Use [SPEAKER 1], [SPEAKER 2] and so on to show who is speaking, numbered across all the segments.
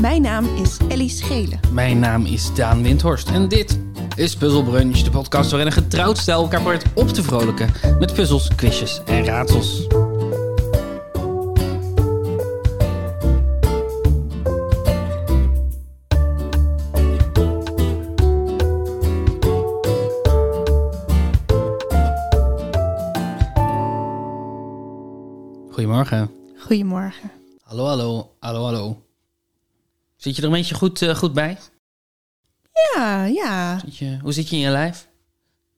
[SPEAKER 1] Mijn naam is Ellie Schelen.
[SPEAKER 2] Mijn naam is Daan Windhorst en dit is Puzzle Brunch, de podcast waarin een getrouwd stijl elkaar probeert op te vrolijken met puzzels, quizjes en raadsels. Goedemorgen.
[SPEAKER 1] Goedemorgen.
[SPEAKER 2] Hallo, hallo, hallo, hallo. Zit je er een beetje goed, eh, goed bij?
[SPEAKER 1] Ja, ja.
[SPEAKER 2] Zit je- hoe zit je in je lijf?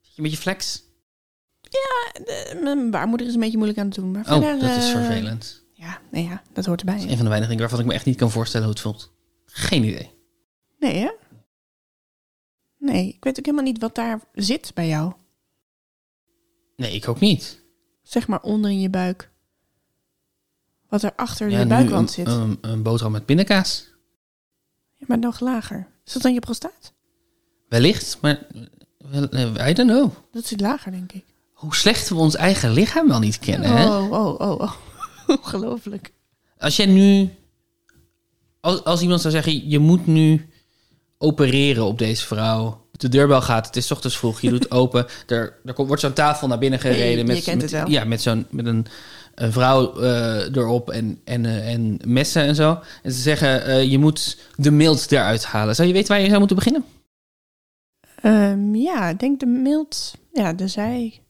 [SPEAKER 2] Zit je een beetje flex?
[SPEAKER 1] De- mijn baarmoeder is een beetje moeilijk aan het doen. Maar
[SPEAKER 2] Oh,
[SPEAKER 1] verder,
[SPEAKER 2] dat is
[SPEAKER 1] eh,
[SPEAKER 2] vervelend.
[SPEAKER 1] Ja, nee, ja, dat hoort
[SPEAKER 2] Dat is
[SPEAKER 1] erbij.
[SPEAKER 2] een van de weinige dingen waarvan ik me echt niet kan voorstellen hoe het voelt. Geen idee.
[SPEAKER 1] Nee, hè? Nee, ik weet ook helemaal niet wat daar zit bij jou.
[SPEAKER 2] Nee, ik ook niet.
[SPEAKER 1] Zeg maar onder in je buik. Wat er achter
[SPEAKER 2] Ja,
[SPEAKER 1] je
[SPEAKER 2] nu oh.
[SPEAKER 1] buikwand
[SPEAKER 2] een,
[SPEAKER 1] zit.
[SPEAKER 2] Een, een boterham met pindakaas.
[SPEAKER 1] Ja, maar nog lager. Is dat dan je prostaat?
[SPEAKER 2] Wellicht, maar wel, eh, I don't know.
[SPEAKER 1] Dat zit lager, denk ik.
[SPEAKER 2] Hoe slecht we ons eigen lichaam wel niet kennen, hè?
[SPEAKER 1] Oh, oh, oh, oh. Ongelooflijk.
[SPEAKER 2] Als jij nu... Als, als iemand zou zeggen, je moet nu opereren op deze vrouw. De deurbel gaat, het is 's ochtends vroeg, je doet open. Er, er komt, wordt zo'n tafel naar binnen gereden.
[SPEAKER 1] Je-
[SPEAKER 2] met,
[SPEAKER 1] je kent
[SPEAKER 2] met-
[SPEAKER 1] het wel.
[SPEAKER 2] Ja, met, zo'n, met een, een vrouw eh, erop en, en, eh, en messen en zo. En ze zeggen, eh, je moet de mild eruit halen. Zou je weten waar je zou moeten beginnen?
[SPEAKER 1] Ehm, ja, ik denk de mild. Ja, de zij.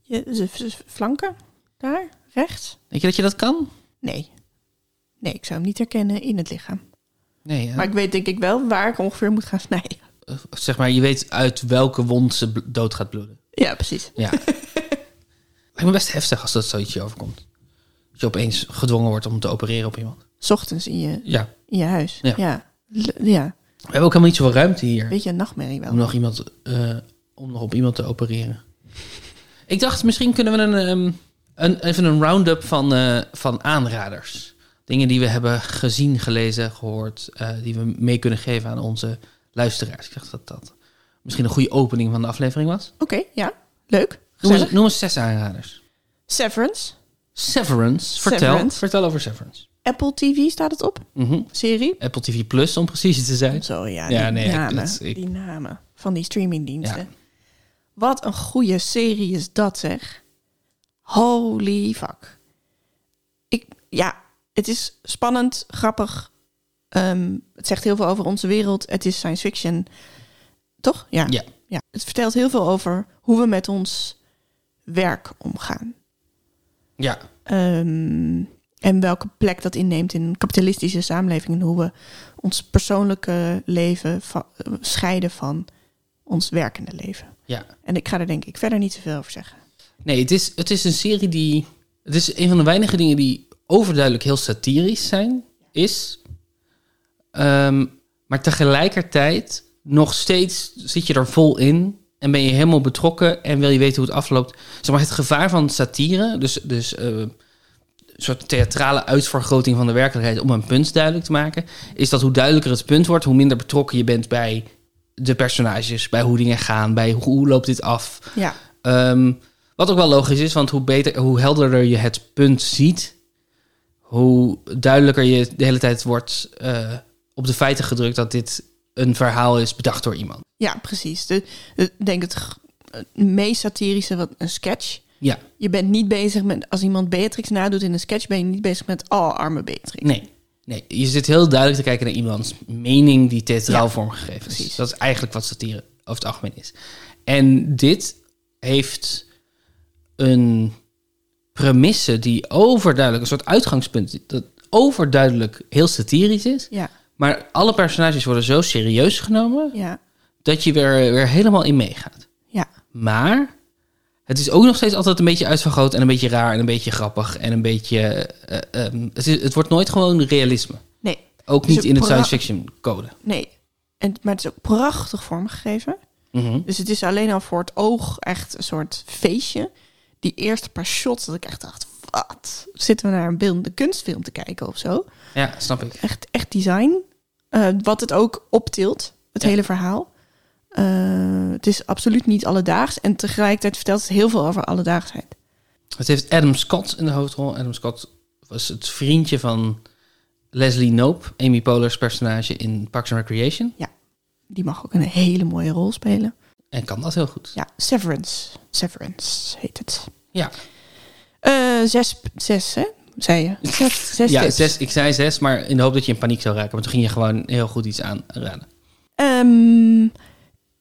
[SPEAKER 1] Je, de v- v- flanken. Daar, rechts.
[SPEAKER 2] Denk je dat je dat kan?
[SPEAKER 1] Nee. Nee, ik zou hem niet herkennen in het lichaam.
[SPEAKER 2] Nee, hè?
[SPEAKER 1] Maar ik weet denk ik wel waar ik ongeveer moet gaan snijden.
[SPEAKER 2] Of zeg maar, je weet uit welke wond ze bl- dood gaat bloeden.
[SPEAKER 1] Ja, precies.
[SPEAKER 2] Ja. Lijkt me best heftig als dat zoiets je overkomt. Dat je opeens gedwongen wordt om te opereren op iemand.
[SPEAKER 1] 's Ochtends in je,
[SPEAKER 2] Ja.
[SPEAKER 1] in je huis.
[SPEAKER 2] Ja.
[SPEAKER 1] Ja. Ja. L- ja.
[SPEAKER 2] We hebben ook helemaal niet zoveel ruimte hier
[SPEAKER 1] Beetje een nachtmerrie wel.
[SPEAKER 2] om nog, iemand, eh, om nog op iemand te opereren. Ik dacht, misschien kunnen we een, ehm, een, even een round-up van, eh, van aanraders. Dingen die we hebben gezien, gelezen, gehoord. eh, die we mee kunnen geven aan onze luisteraars. Ik dacht dat dat misschien een goede opening van de aflevering was.
[SPEAKER 1] Oké, ja. Leuk.
[SPEAKER 2] Noem
[SPEAKER 1] Gezellig.
[SPEAKER 2] eens, noem eens zes aanraders.
[SPEAKER 1] Severance.
[SPEAKER 2] Severance. Vertel,
[SPEAKER 1] Severance.
[SPEAKER 2] vertel over Severance.
[SPEAKER 1] Apple TV staat het op.
[SPEAKER 2] Mhm.
[SPEAKER 1] Serie.
[SPEAKER 2] Apple TV Plus, om precies te zijn.
[SPEAKER 1] Zo ja,
[SPEAKER 2] Ja,
[SPEAKER 1] die,
[SPEAKER 2] nee, ik-
[SPEAKER 1] namen,
[SPEAKER 2] dat is- ik-
[SPEAKER 1] die namen van die streamingdiensten.
[SPEAKER 2] Ja.
[SPEAKER 1] Wat een goede serie is dat zeg. Holy fuck. Ik, ja, het is spannend, grappig. Ehm, het zegt heel veel over onze wereld. Het is science fiction. Toch? Ja.
[SPEAKER 2] Ja.
[SPEAKER 1] ja. Het vertelt heel veel over hoe we met ons werk omgaan.
[SPEAKER 2] Ja,
[SPEAKER 1] Ehm, en welke plek dat inneemt in een kapitalistische samenleving. En hoe we ons persoonlijke leven va- eh, scheiden van ons werkende leven.
[SPEAKER 2] ja.
[SPEAKER 1] En ik ga er denk ik verder niet zoveel over zeggen.
[SPEAKER 2] Nee, het is, het is een serie die... Het is een van de weinige dingen die overduidelijk heel satirisch zijn, is. Ehm, maar tegelijkertijd nog steeds zit je er vol in... en ben je helemaal betrokken en wil je weten hoe het afloopt. Zeg maar, het gevaar van satire, dus... dus eh, een soort theatrale uitvergroting van de werkelijkheid om een punt duidelijk te maken, is dat hoe duidelijker het punt wordt, hoe minder betrokken je bent bij de personages, bij hoe dingen gaan, bij hoe, hoe loopt dit af.
[SPEAKER 1] Ja,
[SPEAKER 2] Ehm, wat ook wel logisch is, want hoe, beter, hoe helderder je het punt ziet, hoe duidelijker je de hele tijd wordt eh, op de feiten gedrukt dat dit een verhaal is bedacht door iemand.
[SPEAKER 1] ja precies. De, de- ik denk het, g- het meest satirische, wat een sketch.
[SPEAKER 2] Ja,
[SPEAKER 1] Je bent niet bezig met, als iemand Beatrix nadoet in een sketch, ben je niet bezig met, oh, arme Beatrix.
[SPEAKER 2] nee. Nee, je zit heel duidelijk te kijken naar iemands mening die theatraal
[SPEAKER 1] Ja,
[SPEAKER 2] vormgegeven is.
[SPEAKER 1] precies.
[SPEAKER 2] Dat is eigenlijk wat satire over het algemeen is. En dit heeft een premisse die overduidelijk, een soort uitgangspunt, dat overduidelijk heel satirisch is.
[SPEAKER 1] Ja,
[SPEAKER 2] Maar alle personages worden zo serieus genomen
[SPEAKER 1] ja,
[SPEAKER 2] dat je weer, weer helemaal in meegaat.
[SPEAKER 1] ja.
[SPEAKER 2] Maar het is ook nog steeds altijd een beetje uitvergroot en een beetje raar en een beetje grappig en een beetje. eh, ehm, het, is, het wordt nooit gewoon realisme.
[SPEAKER 1] Nee,
[SPEAKER 2] Ook
[SPEAKER 1] Dus
[SPEAKER 2] niet
[SPEAKER 1] een
[SPEAKER 2] in het
[SPEAKER 1] pra-
[SPEAKER 2] science fiction code.
[SPEAKER 1] nee. En, maar het is ook prachtig vormgegeven.
[SPEAKER 2] Mhm.
[SPEAKER 1] Dus het is alleen al voor het oog echt een soort feestje. Die eerste paar shots dat ik echt dacht, wat? Zitten we naar een beeldende kunstfilm te kijken of zo?
[SPEAKER 2] Ja, snap ik.
[SPEAKER 1] Echt, echt design. Eh, wat het ook optilt, het
[SPEAKER 2] Ja.
[SPEAKER 1] hele verhaal. Eh, het is absoluut niet alledaags. En tegelijkertijd vertelt het heel veel over alledaagsheid.
[SPEAKER 2] Het heeft Adam Scott in de hoofdrol. Adam Scott was het vriendje van Leslie Knope, Amy Poehler's personage in Parks and Recreation.
[SPEAKER 1] Die mag ook een hele mooie rol spelen.
[SPEAKER 2] En kan dat heel goed.
[SPEAKER 1] Ja, Severance. Severance heet het.
[SPEAKER 2] Ja.
[SPEAKER 1] Eh, zes, zes, hè? Zei je? Zes, zes
[SPEAKER 2] ja,
[SPEAKER 1] tips.
[SPEAKER 2] zes, ik zei zes, maar in de hoop dat je in paniek zou raken. Want toen ging je gewoon heel goed iets aanraden.
[SPEAKER 1] Ehm,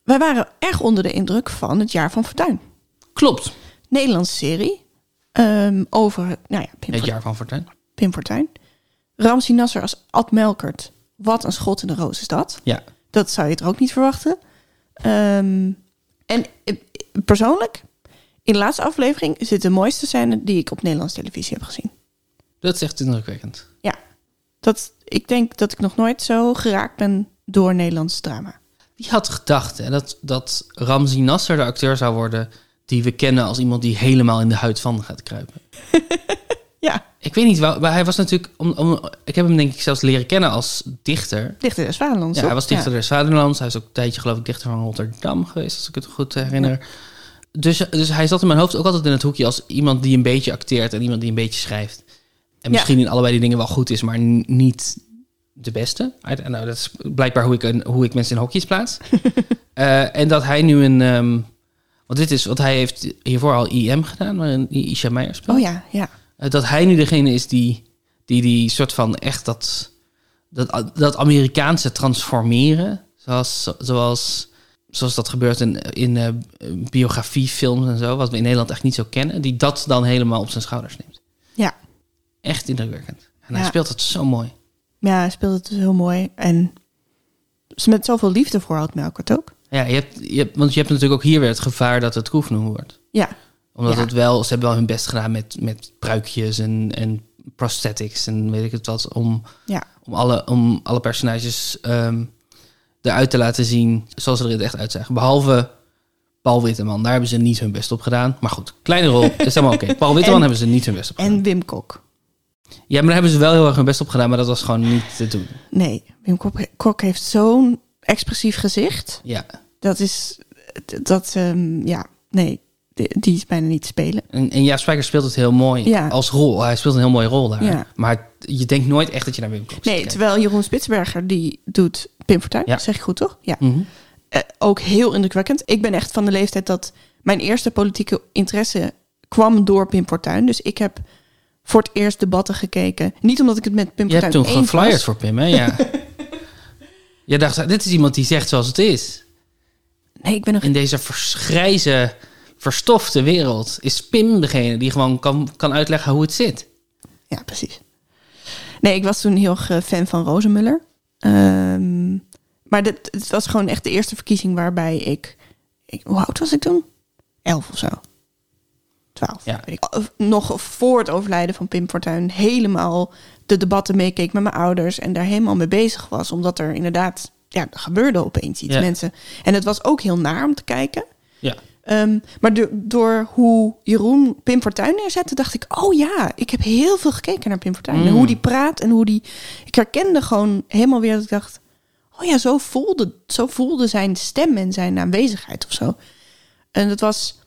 [SPEAKER 1] wij waren erg onder de indruk van het jaar van Fortuin.
[SPEAKER 2] Klopt.
[SPEAKER 1] Nederlandse serie ehm, over nou ja, Pim,
[SPEAKER 2] Het
[SPEAKER 1] Fortuyn,
[SPEAKER 2] jaar van Fortuyn.
[SPEAKER 1] Pim Fortuyn. Ramsey Nasser als Ad Melkert. Wat een schot in de roos is dat.
[SPEAKER 2] Ja.
[SPEAKER 1] Dat zou je er ook niet verwachten. Ehm, en eh, persoonlijk, in de laatste aflevering zit de mooiste scène die ik op Nederlandse televisie heb gezien.
[SPEAKER 2] Dat is echt indrukwekkend.
[SPEAKER 1] Dat, ik denk dat ik nog nooit zo geraakt ben door Nederlands drama.
[SPEAKER 2] Wie had gedacht hè, dat, dat Ramzi Nasser de acteur zou worden die we kennen als iemand die helemaal in de huid van gaat kruipen?
[SPEAKER 1] Ja,
[SPEAKER 2] Ik weet niet, wel- maar hij was natuurlijk... Om, om, ik heb hem denk ik zelfs leren kennen als dichter.
[SPEAKER 1] Dichter des Vaderlands.
[SPEAKER 2] Ja,
[SPEAKER 1] toch?
[SPEAKER 2] hij was dichter des Vaderlands. Hij is ook een tijdje, geloof ik, dichter van Rotterdam geweest, als ik het goed herinner. Dus, dus hij zat in mijn hoofd ook altijd in het hoekje als iemand die een beetje acteert en iemand die een beetje schrijft. En
[SPEAKER 1] Ja.
[SPEAKER 2] misschien in allebei die dingen wel goed is, maar n- niet de beste. I don't know, dat is blijkbaar hoe ik, een- hoe ik mensen in hokjes plaats. Eh, en dat hij nu een... ehm, want dit is, want hij heeft hiervoor al IM gedaan, waarin Isha Meijer speelt.
[SPEAKER 1] Ja. Oh ja, ja.
[SPEAKER 2] Eh, dat hij nu degene is die die, die soort van echt dat, dat, dat Amerikaanse transformeren. Zoals, zoals, zoals dat gebeurt in, in eh, biografiefilms en zo, wat we in Nederland echt niet zo kennen. Die dat dan helemaal op zijn schouders neemt.
[SPEAKER 1] Ja.
[SPEAKER 2] Echt indrukwekkend. En hij
[SPEAKER 1] Ja.
[SPEAKER 2] speelt het zo mooi.
[SPEAKER 1] Ja, hij speelde het dus heel mooi. En ze met zoveel liefde voor had Melkert ook.
[SPEAKER 2] Ja, je hebt, je hebt, want je hebt natuurlijk ook hier weer het gevaar dat het proefnoem wordt.
[SPEAKER 1] Ja,
[SPEAKER 2] Omdat
[SPEAKER 1] Ja.
[SPEAKER 2] het wel, ze hebben wel hun best gedaan met, met pruikjes en, en prosthetics en weet ik het wat. Om,
[SPEAKER 1] ja,
[SPEAKER 2] om alle, om alle personages ehm, eruit te laten zien zoals ze er in het echt uitzagen. Behalve Paul Witteman, daar hebben ze niet hun best op gedaan. Maar goed, kleine rol, is helemaal oké. Paul Witteman
[SPEAKER 1] En-
[SPEAKER 2] hebben ze niet hun best op gedaan.
[SPEAKER 1] en Wim Kok.
[SPEAKER 2] Ja, maar daar hebben ze wel heel erg hun best op gedaan, maar dat was gewoon niet te doen.
[SPEAKER 1] Nee, Wim Kok, Kok heeft zo'n expressief gezicht.
[SPEAKER 2] Ja,
[SPEAKER 1] Dat is, dat, ehm, ja, nee, die, die is bijna niet te spelen.
[SPEAKER 2] en, en ja, Spijker speelt het heel mooi
[SPEAKER 1] Ja.
[SPEAKER 2] als rol. Hij speelt een heel mooie rol daar.
[SPEAKER 1] Ja.
[SPEAKER 2] Maar je denkt nooit echt dat je naar Wim Kok zit
[SPEAKER 1] Nee,
[SPEAKER 2] te kijken.
[SPEAKER 1] terwijl Jeroen Spitsberger, die doet Pim Fortuyn,
[SPEAKER 2] Ja.
[SPEAKER 1] zeg ik goed toch? Ja.
[SPEAKER 2] Mhm.
[SPEAKER 1] Eh, ook heel indrukwekkend. Ik ben echt van de leeftijd dat mijn eerste politieke interesse kwam door Pim Fortuyn. Dus ik heb voor het eerst debatten gekeken. Niet omdat ik het met Pim
[SPEAKER 2] Je hebt
[SPEAKER 1] Fortuyn
[SPEAKER 2] toen
[SPEAKER 1] eens was.
[SPEAKER 2] geflyerd voor Pim, hè? Ja. je dacht, dit is iemand die zegt zoals het is.
[SPEAKER 1] Nee, ik ben nog...
[SPEAKER 2] in deze verschrijze, verstofte wereld is Pim degene die gewoon kan, kan uitleggen hoe het zit.
[SPEAKER 1] Ja, precies. Nee, ik was toen heel erg eh, fan van Rozenmuller. Ehm, maar dat, het was gewoon echt de eerste verkiezing waarbij ik, ik... Hoe oud was ik toen? Elf of zo. Twaalf.
[SPEAKER 2] Ja.
[SPEAKER 1] weet ik. Of- Nog voor het overlijden van Pim Fortuyn helemaal de debatten meekeek met mijn ouders... en daar helemaal mee bezig was. Omdat er inderdaad... Ja, er gebeurde opeens iets.
[SPEAKER 2] Ja.
[SPEAKER 1] Mensen. En het was ook heel naar om te kijken.
[SPEAKER 2] Ja.
[SPEAKER 1] Ehm, maar do- door hoe Jeroen Pim Fortuyn neerzette, dacht ik... oh ja, ik heb heel veel gekeken naar Pim Fortuyn. En
[SPEAKER 2] Mm.
[SPEAKER 1] hoe die praat en hoe die... Ik herkende gewoon helemaal weer dat ik dacht... oh ja, zo voelde, zo voelde zijn stem en zijn aanwezigheid of zo. En dat was...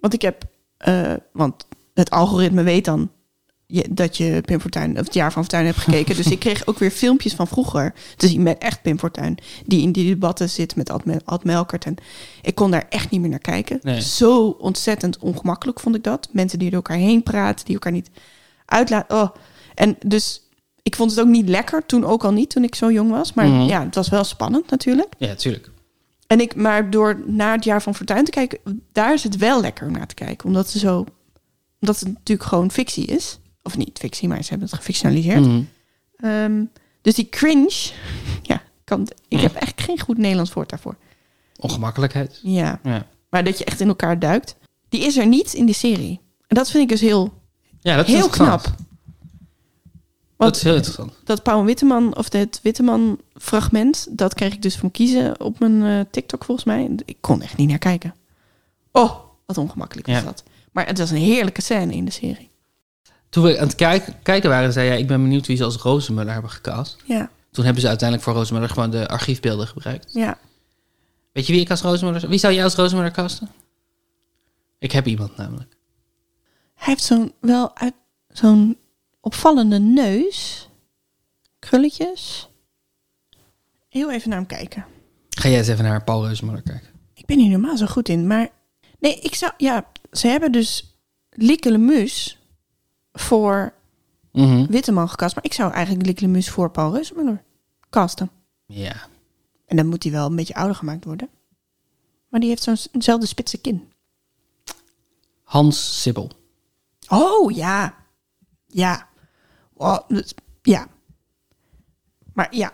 [SPEAKER 1] Want ik heb... eh, want het algoritme weet dan je- dat je Pim Fortuyn... of het jaar van Fortuyn hebt gekeken. dus ik kreeg ook weer filmpjes van vroeger te zien met echt Pim Fortuyn... die in die debatten zit met Ad, Mel- Ad Melkert. En ik kon daar echt niet meer naar kijken.
[SPEAKER 2] Nee.
[SPEAKER 1] Zo ontzettend ongemakkelijk vond ik dat. Mensen die door elkaar heen praten, die elkaar niet uitlaten. Oh. En dus ik vond het ook niet lekker, toen ook al niet, toen ik zo jong was. Maar
[SPEAKER 2] Mhm.
[SPEAKER 1] ja, het was wel spannend natuurlijk.
[SPEAKER 2] Ja, tuurlijk.
[SPEAKER 1] En ik, maar door naar het jaar van Fortuin te kijken, daar is het wel lekker om naar te kijken. Omdat ze zo, omdat het natuurlijk gewoon fictie is. Of niet fictie, maar ze hebben het gefictionaliseerd.
[SPEAKER 2] Mhm.
[SPEAKER 1] Ehm, dus die cringe, ja, kan, ik heb echt geen goed Nederlands woord daarvoor.
[SPEAKER 2] Ongemakkelijkheid.
[SPEAKER 1] Ja,
[SPEAKER 2] Ja,
[SPEAKER 1] maar dat je echt in elkaar duikt. Die is er niet in die serie. En dat vind ik dus heel,
[SPEAKER 2] ja dat is
[SPEAKER 1] heel
[SPEAKER 2] interessant.
[SPEAKER 1] knap.
[SPEAKER 2] Dat is heel interessant.
[SPEAKER 1] dat Pauw en Witteman, of het Witteman fragment, dat kreeg ik dus van kiezen op mijn eh, TikTok volgens mij. Ik kon echt niet naar kijken. Oh, wat ongemakkelijk was
[SPEAKER 2] Ja.
[SPEAKER 1] dat. Maar het was een heerlijke scène in de serie.
[SPEAKER 2] Toen we aan het kijk- kijken waren, zei jij, ik ben benieuwd wie ze als Rozenmuller hebben gecast.
[SPEAKER 1] Ja,
[SPEAKER 2] Toen hebben ze uiteindelijk voor Rozenmuller gewoon de archiefbeelden gebruikt.
[SPEAKER 1] ja.
[SPEAKER 2] Weet je wie ik als Rozenmuller... Wie zou jij als Rozenmuller casten? Ik heb iemand namelijk.
[SPEAKER 1] Hij heeft zo'n wel uit zo'n opvallende neus. Ik krulletjes. Heel even naar hem kijken.
[SPEAKER 2] Ga jij eens even naar Paul Reuzemuller kijken.
[SPEAKER 1] Ik ben hier normaal zo goed in, maar... Nee, ik zou... Ja, ze hebben dus Lieke Lemus voor
[SPEAKER 2] Mhm.
[SPEAKER 1] Witteman gecast. Maar ik zou eigenlijk Lieke Lemus voor Paul Reusemuller casten.
[SPEAKER 2] Ja.
[SPEAKER 1] En dan moet hij wel een beetje ouder gemaakt worden. Maar die heeft zo'nzelfde spitse kin.
[SPEAKER 2] Hans Sibbel.
[SPEAKER 1] Oh, ja. Ja. Wow, dat- ja. Maar ja,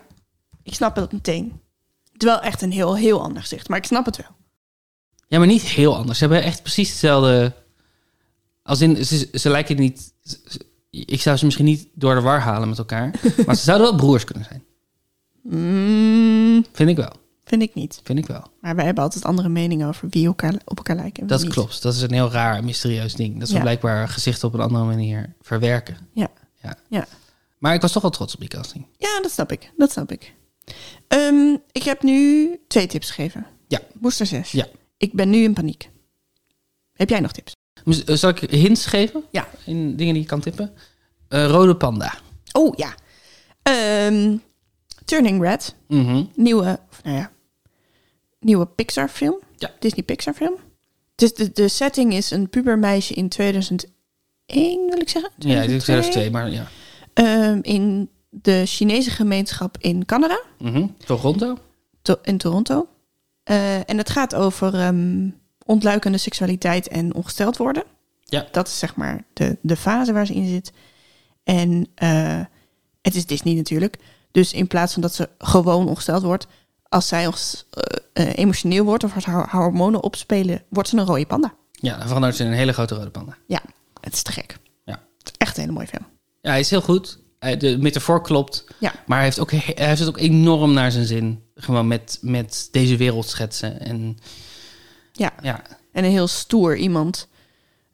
[SPEAKER 1] ik snap het meteen. Terwijl echt een heel, heel ander gezicht. Maar ik snap het wel.
[SPEAKER 2] Ja, maar niet heel anders. Ze hebben echt precies hetzelfde. Als in, ze, ze lijken niet. ze- ze- Ik zou ze misschien niet door de war halen met elkaar. maar ze zouden wel broers kunnen zijn.
[SPEAKER 1] Mm,
[SPEAKER 2] Vind ik wel.
[SPEAKER 1] vind ik niet.
[SPEAKER 2] Vind ik wel.
[SPEAKER 1] Maar wij hebben altijd andere meningen over wie elkaar, op elkaar lijken. en wie
[SPEAKER 2] Dat
[SPEAKER 1] niet.
[SPEAKER 2] klopt. Dat is een heel raar, en mysterieus ding. Dat ze
[SPEAKER 1] Ja.
[SPEAKER 2] blijkbaar gezichten op een andere manier verwerken.
[SPEAKER 1] Ja.
[SPEAKER 2] Ja.
[SPEAKER 1] Ja.
[SPEAKER 2] Maar ik was toch wel trots op die casting.
[SPEAKER 1] ja, dat snap ik. Dat snap ik. Ehm, ik heb nu twee tips gegeven.
[SPEAKER 2] Ja.
[SPEAKER 1] Booster 6.
[SPEAKER 2] Ja.
[SPEAKER 1] Ik ben nu in paniek. Heb jij nog tips?
[SPEAKER 2] Mis- eh, Zal ik hints geven?
[SPEAKER 1] Ja.
[SPEAKER 2] In dingen die je kan tippen? Eh, rode panda.
[SPEAKER 1] Oh ja. Ehm, Turning Red.
[SPEAKER 2] Mhm.
[SPEAKER 1] Nieuwe, of nou ja, nieuwe Pixar film.
[SPEAKER 2] Ja.
[SPEAKER 1] Disney Pixar film. Dus de, de setting is een pubermeisje in 2001, wil ik zeggen.
[SPEAKER 2] Ja, dit is
[SPEAKER 1] 2002.
[SPEAKER 2] 2002, maar ja.
[SPEAKER 1] Ehm, in de Chinese gemeenschap in Canada.
[SPEAKER 2] Mhm. Toronto?
[SPEAKER 1] to- in Toronto. Eh, en het gaat over ehm, ontluikende seksualiteit en ongesteld worden.
[SPEAKER 2] Ja.
[SPEAKER 1] Dat is zeg maar de, de fase waar ze in zit. En eh, het is Disney natuurlijk. Dus in plaats van dat ze gewoon ongesteld wordt, als zij ons, eh, eh, emotioneel wordt of als haar, haar hormonen opspelen, wordt ze een rode panda.
[SPEAKER 2] Ja, dan verandert ze in een hele grote rode panda.
[SPEAKER 1] Ja, het is te gek.
[SPEAKER 2] Ja.
[SPEAKER 1] Het is echt een hele mooie film.
[SPEAKER 2] Ja, hij is heel goed. Hij- De metafoor klopt.
[SPEAKER 1] Ja.
[SPEAKER 2] Maar hij heeft, ook, he- hij heeft het ook enorm naar zijn zin. Gewoon met, met deze wereld schetsen. En
[SPEAKER 1] Ja.
[SPEAKER 2] ja,
[SPEAKER 1] En een heel stoer iemand.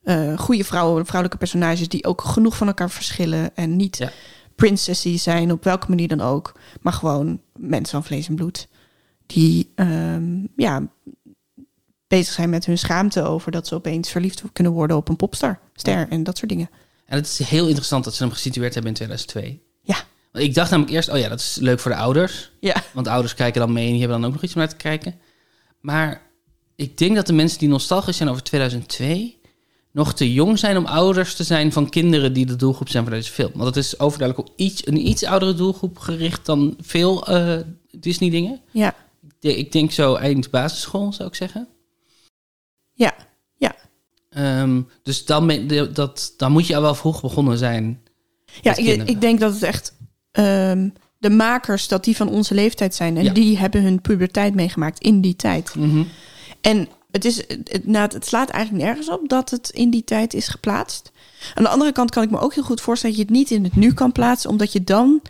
[SPEAKER 1] Eh goede vrouwen, vrouwelijke personages die ook genoeg van elkaar verschillen. En niet
[SPEAKER 2] Ja.
[SPEAKER 1] prinsessie zijn, op welke manier dan ook. Maar gewoon mensen van vlees en bloed. Die ehm, ja, bezig zijn met hun schaamte over dat ze opeens verliefd kunnen worden op een popstar. Ster en dat soort dingen.
[SPEAKER 2] en het is heel interessant dat ze hem gesitueerd hebben in 2002.
[SPEAKER 1] Ja.
[SPEAKER 2] Want ik dacht namelijk eerst, oh ja, dat is leuk voor de ouders.
[SPEAKER 1] Ja.
[SPEAKER 2] Want de ouders kijken dan mee en die hebben dan ook nog iets om naar te kijken. Maar ik denk dat de mensen die nostalgisch zijn over 2002... nog te jong zijn om ouders te zijn van kinderen die de doelgroep zijn van deze film. Want dat is overduidelijk op iets, een iets oudere doelgroep gericht dan veel eh, Disney-dingen.
[SPEAKER 1] Ja.
[SPEAKER 2] Ja, ik denk zo eind basisschool, zou ik zeggen.
[SPEAKER 1] Ja.
[SPEAKER 2] Ehm, dus dan, me- de- dat, dan moet je al wel vroeg begonnen zijn.
[SPEAKER 1] Ja,
[SPEAKER 2] Met
[SPEAKER 1] ik,
[SPEAKER 2] kinderen.
[SPEAKER 1] ik denk dat het echt ehm, de makers, dat die van onze leeftijd zijn. En
[SPEAKER 2] Ja.
[SPEAKER 1] die hebben hun puberteit meegemaakt in die tijd.
[SPEAKER 2] Mhm.
[SPEAKER 1] En het, is, het, nou, het slaat eigenlijk nergens op dat het in die tijd is geplaatst. Aan de andere kant kan ik me ook heel goed voorstellen dat je het niet in het nu kan plaatsen, omdat je dan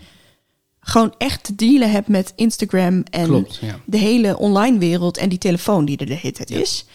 [SPEAKER 1] gewoon echt te dealen hebt met Instagram en
[SPEAKER 2] Klopt, ja.
[SPEAKER 1] de hele online wereld en die telefoon die er de hele tijd is.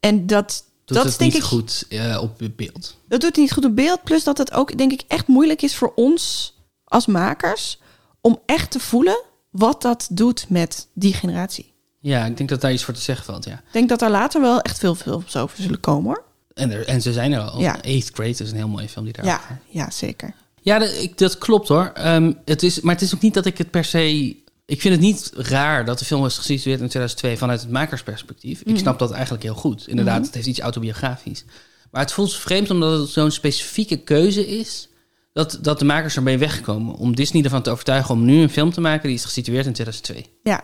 [SPEAKER 1] En dat, dat
[SPEAKER 2] Doet het
[SPEAKER 1] is denk
[SPEAKER 2] niet
[SPEAKER 1] ik
[SPEAKER 2] goed eh, op je beeld.
[SPEAKER 1] dat doet niet goed op beeld. Plus dat het ook, denk ik, echt moeilijk is voor ons als makers om echt te voelen wat dat doet met die generatie.
[SPEAKER 2] Ja, ik denk dat daar iets voor te zeggen valt, ja.
[SPEAKER 1] Ik denk dat daar later wel echt veel films over zullen komen hoor.
[SPEAKER 2] En, er, en ze zijn er al.
[SPEAKER 1] Ja.
[SPEAKER 2] Eighth Grade is een heel mooie film die daar...
[SPEAKER 1] Ja, ja zeker.
[SPEAKER 2] Ja, dat, ik- dat klopt hoor. Ehm, het is, maar het is ook niet dat ik het per se. Ik vind het niet raar dat de film is gesitueerd in 2002 vanuit het makersperspectief.
[SPEAKER 1] Mhm.
[SPEAKER 2] Ik snap dat eigenlijk heel goed. Inderdaad, het heeft iets autobiografisch. Maar het voelt vreemd omdat het zo'n specifieke keuze is. Dat, dat de makers ermee wegkomen. Om Disney ervan te overtuigen om nu een film te maken die is gesitueerd in 2002.
[SPEAKER 1] Ja.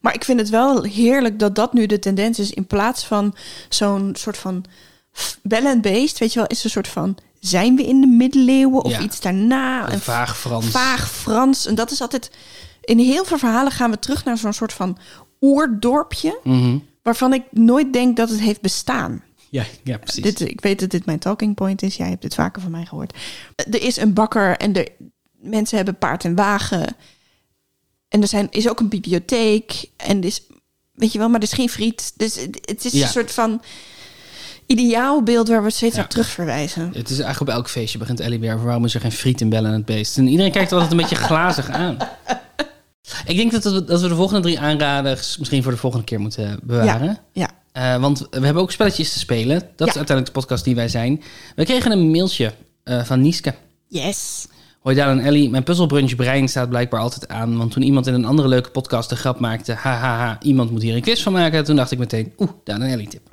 [SPEAKER 1] Maar ik vind het wel heerlijk dat dat nu de tendens is. In plaats van zo'n soort van f- bel en beest, weet je wel, is een soort van zijn we in de middeleeuwen of
[SPEAKER 2] Ja.
[SPEAKER 1] iets daarna?
[SPEAKER 2] Een vaag Frans.
[SPEAKER 1] Vaag Frans. En dat is altijd. In heel veel verhalen gaan we terug naar zo'n soort van oerdorpje.
[SPEAKER 2] Mhm.
[SPEAKER 1] Waarvan ik nooit denk dat het heeft bestaan.
[SPEAKER 2] Ja, ja, precies.
[SPEAKER 1] Dit, ik weet dat dit mijn talking point is. Jij hebt dit vaker van mij gehoord. Er is een bakker en er, mensen hebben paard en wagen. En er zijn, is ook een bibliotheek. En er is, weet je wel, maar er is geen friet. Dus het, het is
[SPEAKER 2] Ja.
[SPEAKER 1] een soort van ideaalbeeld waar we steeds
[SPEAKER 2] Ja.
[SPEAKER 1] op terug verwijzen.
[SPEAKER 2] Het is eigenlijk op elk feestje begint Ellie weer over waarom is er geen friet in Bellen en het Beest. En iedereen kijkt er altijd een beetje glazig aan. Ik denk dat we, dat we de volgende drie aanraders misschien voor de volgende keer moeten bewaren.
[SPEAKER 1] Ja,
[SPEAKER 2] Eh, want we hebben ook spelletjes te spelen. Dat
[SPEAKER 1] Ja.
[SPEAKER 2] is uiteindelijk de podcast die wij zijn. We kregen een mailtje eh, van Nieske.
[SPEAKER 1] yes.
[SPEAKER 2] Hoi Daan en Ellie, mijn puzzelbrunch brein staat blijkbaar altijd aan. Want toen iemand in een andere leuke podcast de grap maakte... hahaha, iemand moet hier een quiz van maken. Toen dacht ik meteen, oeh, Daan en Ellie tippen.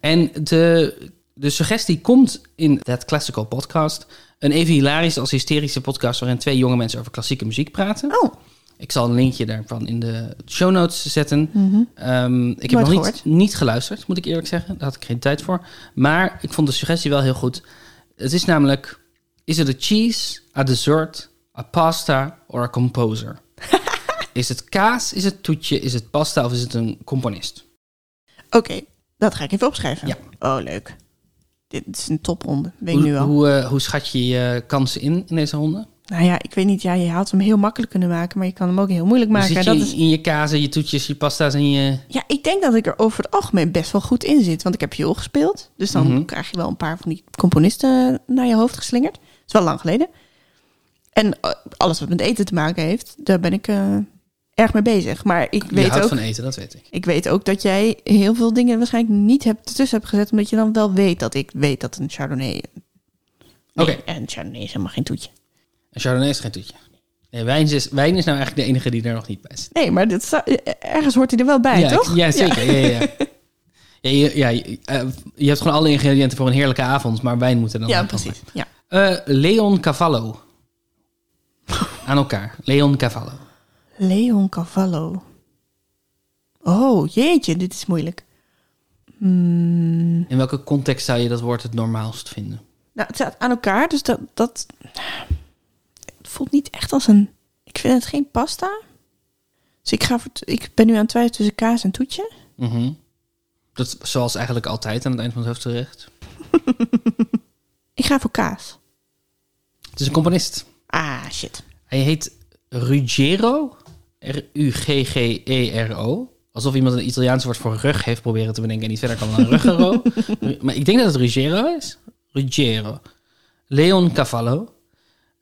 [SPEAKER 2] En de, de suggestie komt in That Classical Podcast. Een even hilarische als hysterische podcast... waarin twee jonge mensen over klassieke muziek praten.
[SPEAKER 1] Oh,
[SPEAKER 2] Ik zal een linkje daarvan in de show notes zetten. Ehm, ik heb
[SPEAKER 1] Mhm. Nooit
[SPEAKER 2] nog niet,
[SPEAKER 1] gehoord.
[SPEAKER 2] niet geluisterd, moet ik eerlijk zeggen. Daar had ik geen tijd voor. Maar ik vond de suggestie wel heel goed. Het is namelijk: is het een cheese, a dessert, a pasta or a composer? is het kaas, is het toetje, is het pasta of is het een componist?
[SPEAKER 1] oké. Dat ga ik even opschrijven.
[SPEAKER 2] Ja.
[SPEAKER 1] Oh, leuk. Dit is een topronde, weet ik
[SPEAKER 2] hoe,
[SPEAKER 1] nu al.
[SPEAKER 2] Hoe, eh, hoe schat je je kansen in in deze ronde?
[SPEAKER 1] Nou ja, ik weet niet. Ja, je had hem heel makkelijk kunnen maken, maar je kan hem ook heel moeilijk
[SPEAKER 2] Hoe
[SPEAKER 1] maken.
[SPEAKER 2] zit je
[SPEAKER 1] Dat is,
[SPEAKER 2] in je kaas en je toetjes, je pasta's en je.
[SPEAKER 1] ja, ik denk dat ik er over het algemeen best wel goed in zit. Want ik heb viool gespeeld. Dus dan
[SPEAKER 2] Mhm.
[SPEAKER 1] krijg je wel een paar van die componisten naar je hoofd geslingerd. Dat is wel lang geleden. En eh, alles wat met eten te maken heeft, daar ben ik eh, erg mee bezig. Maar ik
[SPEAKER 2] Je
[SPEAKER 1] weet
[SPEAKER 2] houdt
[SPEAKER 1] ook
[SPEAKER 2] van eten, dat weet ik.
[SPEAKER 1] Ik weet ook dat jij heel veel dingen waarschijnlijk niet hebt tussen hebt gezet, omdat je dan wel weet dat ik weet dat een Chardonnay.
[SPEAKER 2] Oké.
[SPEAKER 1] En Chardonnay is helemaal geen toetje.
[SPEAKER 2] En Chardonnay is geen toetje. Nee, wijn, is, wijn is nou eigenlijk de enige die er nog niet bij zit.
[SPEAKER 1] Nee, maar dit sta- ergens hoort hij er wel bij,
[SPEAKER 2] ja, ik-
[SPEAKER 1] toch?
[SPEAKER 2] Ja, zeker. Ja. Ja, ja. Ja, je, ja, je- eh, je hebt gewoon alle ingrediënten voor een heerlijke avond, maar wijn moet er dan
[SPEAKER 1] Ja,
[SPEAKER 2] ook nog
[SPEAKER 1] precies. Ja.
[SPEAKER 2] bij. Eh, Leon Cavallo. Aan elkaar. Leon Cavallo.
[SPEAKER 1] Leon Cavallo. Oh, jeetje, dit is moeilijk. Hmm.
[SPEAKER 2] In welke context zou je dat woord het normaalst vinden?
[SPEAKER 1] Nou, het staat aan elkaar, dus dat, dat het voelt niet echt als een... Ik vind het geen pasta. Dus ik, ga voor, ik ben nu aan het twijfelen tussen kaas en toetje.
[SPEAKER 2] Mhm. Dat is zoals eigenlijk altijd aan het eind van het hoofdgerecht.
[SPEAKER 1] Ik ga voor kaas.
[SPEAKER 2] Het is een componist.
[SPEAKER 1] Ah, shit.
[SPEAKER 2] Hij heet Ruggero. R-U-G-G-E-R-O. E Alsof iemand een Italiaans woord voor rug heeft proberen te bedenken en niet verder kan dan Ruggero. maar ik denk dat het Ruggero is. Ruggero. Leon Cavallo.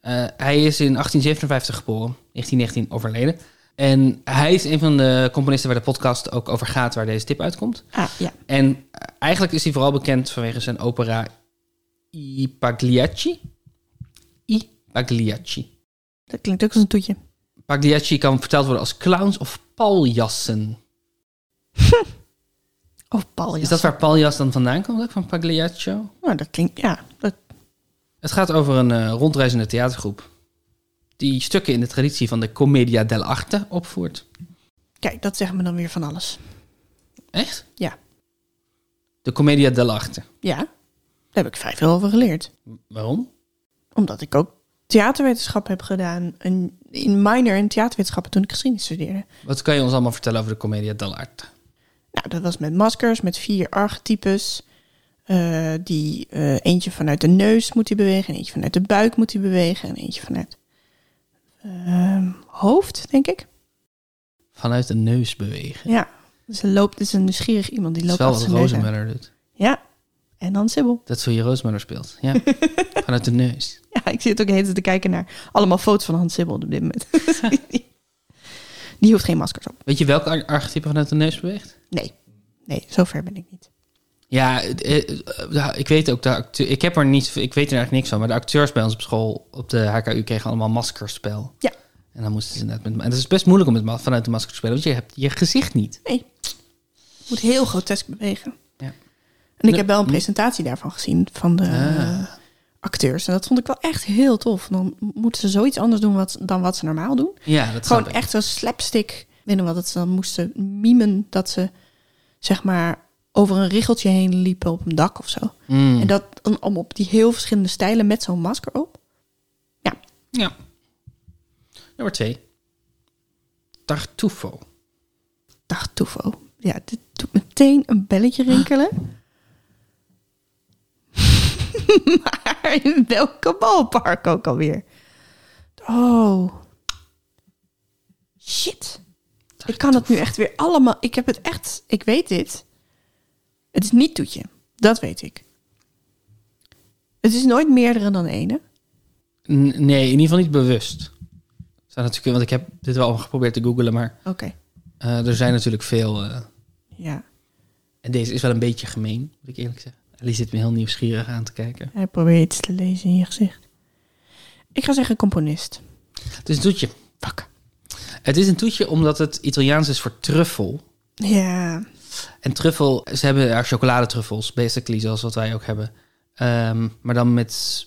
[SPEAKER 2] Eh, hij is in 1857 geboren, 1919 overleden. En hij is een van de componisten waar de podcast ook over gaat, waar deze tip uitkomt.
[SPEAKER 1] Ah, ja.
[SPEAKER 2] En eigenlijk is hij vooral bekend vanwege zijn opera I Pagliacci. I Pagliacci.
[SPEAKER 1] Dat klinkt ook als een toetje.
[SPEAKER 2] Pagliacci kan verteld worden als clowns of paljassen.
[SPEAKER 1] Of paljas.
[SPEAKER 2] Is dat waar paljas dan vandaan komt, ook van Pagliaccio?
[SPEAKER 1] Nou, dat klinkt, ja. Dat,
[SPEAKER 2] Het gaat over een eh, rondreizende theatergroep die stukken in de traditie van de Commedia dell'arte opvoert.
[SPEAKER 1] kijk, dat zegt me dan weer van alles.
[SPEAKER 2] Echt?
[SPEAKER 1] Ja.
[SPEAKER 2] De Commedia dell'arte.
[SPEAKER 1] Ja, daar heb ik vrij veel over geleerd.
[SPEAKER 2] Waarom?
[SPEAKER 1] Omdat ik ook theaterwetenschap heb gedaan. Een, in minor in theaterwetenschappen toen ik geschiedenis studeerde.
[SPEAKER 2] Wat kan je ons allemaal vertellen over de Commedia dell'arte?
[SPEAKER 1] Nou, dat was met maskers, met vier archetypes. Eh, die, eh, eentje vanuit de neus moet hij bewegen. En eentje vanuit de buik moet hij bewegen. En eentje vanuit ehm, hoofd, denk ik.
[SPEAKER 2] Vanuit de neus bewegen.
[SPEAKER 1] Ja, dus er loopt dus een nieuwsgierig iemand die
[SPEAKER 2] Dat is
[SPEAKER 1] loopt
[SPEAKER 2] wel
[SPEAKER 1] achter
[SPEAKER 2] wat
[SPEAKER 1] zijn neus aan.
[SPEAKER 2] Rosemuller doet.
[SPEAKER 1] Ja, en dan Sibyl.
[SPEAKER 2] Dat is hoe je Rosemuller speelt. Ja. Vanuit de neus.
[SPEAKER 1] Ja, ik zit ook de hele tijd te kijken naar allemaal foto's van Hans Sibbel op dit moment. Die hoeft geen maskers op.
[SPEAKER 2] Weet je welk ar- archetype vanuit de neus beweegt?
[SPEAKER 1] Nee, nee, zover ben ik niet.
[SPEAKER 2] Ja, eh, eh, eh, ik weet ook, de acteur, ik, heb er niet, ik weet er eigenlijk niks van, maar de acteurs bij ons op school, op de HKU, kregen allemaal maskerspel.
[SPEAKER 1] Ja.
[SPEAKER 2] En dan moesten ze inderdaad met, en het is best moeilijk om met, ma- vanuit de masker te spelen, want je hebt je gezicht niet.
[SPEAKER 1] Nee, moet heel grotesk bewegen.
[SPEAKER 2] Ja.
[SPEAKER 1] En ik
[SPEAKER 2] Ja.
[SPEAKER 1] heb wel een presentatie daarvan gezien van de eh,
[SPEAKER 2] Ah.
[SPEAKER 1] acteurs. En dat vond ik wel echt heel tof. Dan moeten ze zoiets anders doen wat, dan wat ze normaal doen.
[SPEAKER 2] Ja, dat
[SPEAKER 1] Gewoon
[SPEAKER 2] snap ik.
[SPEAKER 1] echt zo'n slapstick. Ik Weet nog wel dat ze dan moesten mimen dat ze zeg maar over een richeltje heen liepen op een dak of zo.
[SPEAKER 2] Mm.
[SPEAKER 1] En dat dan om op die heel verschillende stijlen met zo'n masker op. Ja,
[SPEAKER 2] Ja. Nummer twee. Tartufo.
[SPEAKER 1] Tartufo. Ja, dit doet meteen een belletje rinkelen. maar in welke balpark ook alweer? Oh. Shit. Ik kan het nu echt weer allemaal... Ik heb het echt... Ik weet dit. Het is niet toetje. Dat weet ik. Het is nooit meerdere dan ene.
[SPEAKER 2] N- nee, in ieder geval niet bewust. Er Zijn natuurlijk, want ik heb dit wel geprobeerd te googlen, maar
[SPEAKER 1] Oké.
[SPEAKER 2] eh, er zijn natuurlijk veel... eh,
[SPEAKER 1] Ja.
[SPEAKER 2] en deze is wel een beetje gemeen, moet ik eerlijk zeggen. Ellie zit me heel nieuwsgierig aan te kijken.
[SPEAKER 1] Hij probeert iets te lezen in je gezicht. Ik ga zeggen componist.
[SPEAKER 2] Het is een toetje.
[SPEAKER 1] Fuck.
[SPEAKER 2] Het is een toetje omdat het Italiaans is voor truffel.
[SPEAKER 1] Ja.
[SPEAKER 2] En truffel, ze hebben daar chocoladetruffels, basically, zoals wat wij ook hebben. Ehm, maar dan met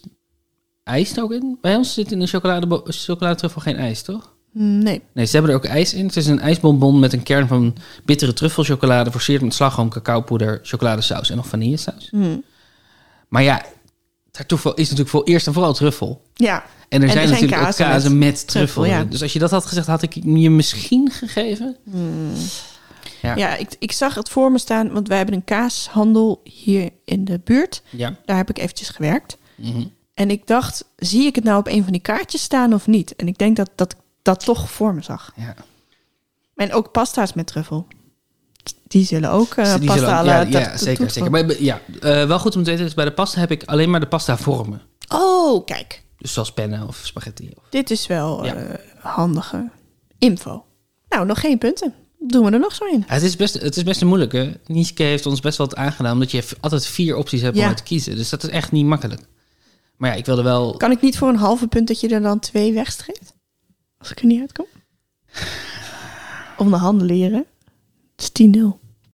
[SPEAKER 2] ijs er ook in. Bij ons zit in een chocolade, chocoladetruffel geen ijs, toch?
[SPEAKER 1] Mm, Nee.
[SPEAKER 2] Nee, ze hebben er ook ijs in. Het is een ijsbonbon met een kern van bittere truffelchocolade... versierd met slagroom, cacaopoeder, chocoladesaus en nog vanillesaus.
[SPEAKER 1] Hm.
[SPEAKER 2] Maar ja, daar toeval is natuurlijk voor eerst en vooral truffel.
[SPEAKER 1] Ja. En er
[SPEAKER 2] En er zijn
[SPEAKER 1] zijn
[SPEAKER 2] natuurlijk ook
[SPEAKER 1] kazen met
[SPEAKER 2] kazen met, truffel.
[SPEAKER 1] truffel, ja.
[SPEAKER 2] in. Dus als je dat had gezegd, had ik je misschien gegeven. Ja.
[SPEAKER 1] Ja, ik, ik zag het voor me staan, want wij hebben een kaashandel hier in de buurt.
[SPEAKER 2] Ja.
[SPEAKER 1] Daar heb ik eventjes gewerkt.
[SPEAKER 2] Mhm.
[SPEAKER 1] En ik dacht, zie ik het nou op een van die kaartjes staan of niet? En ik denk dat dat, ik dat toch voor me zag.
[SPEAKER 2] ja.
[SPEAKER 1] En ook pasta's met truffel. Die zullen ook eh,
[SPEAKER 2] Die
[SPEAKER 1] pasta
[SPEAKER 2] zullen ook-
[SPEAKER 1] à la
[SPEAKER 2] ja, ja,
[SPEAKER 1] tar-
[SPEAKER 2] zeker.
[SPEAKER 1] toet-
[SPEAKER 2] zeker. Maar eh, ja, eh, wel goed om te weten, dus bij de pasta heb ik alleen maar de pasta vormen.
[SPEAKER 1] Oh, kijk.
[SPEAKER 2] Dus zoals pennen of spaghetti. Of...
[SPEAKER 1] Dit is wel
[SPEAKER 2] Ja.
[SPEAKER 1] eh, handige info. Nou, nog geen punten. Doen we er nog zo in.
[SPEAKER 2] Ja, het, is best, het is best een moeilijke. Nieske heeft ons best wel wat aangedaan, omdat je v- altijd vier opties hebt om
[SPEAKER 1] Ja.
[SPEAKER 2] uit te kiezen. Dus dat is echt niet makkelijk. Maar ja, ik wilde wel...
[SPEAKER 1] Kan ik niet voor een halve punt dat je er dan twee wegstreept? Als ik er niet uitkom? Om de handen leren. Het is 10-0.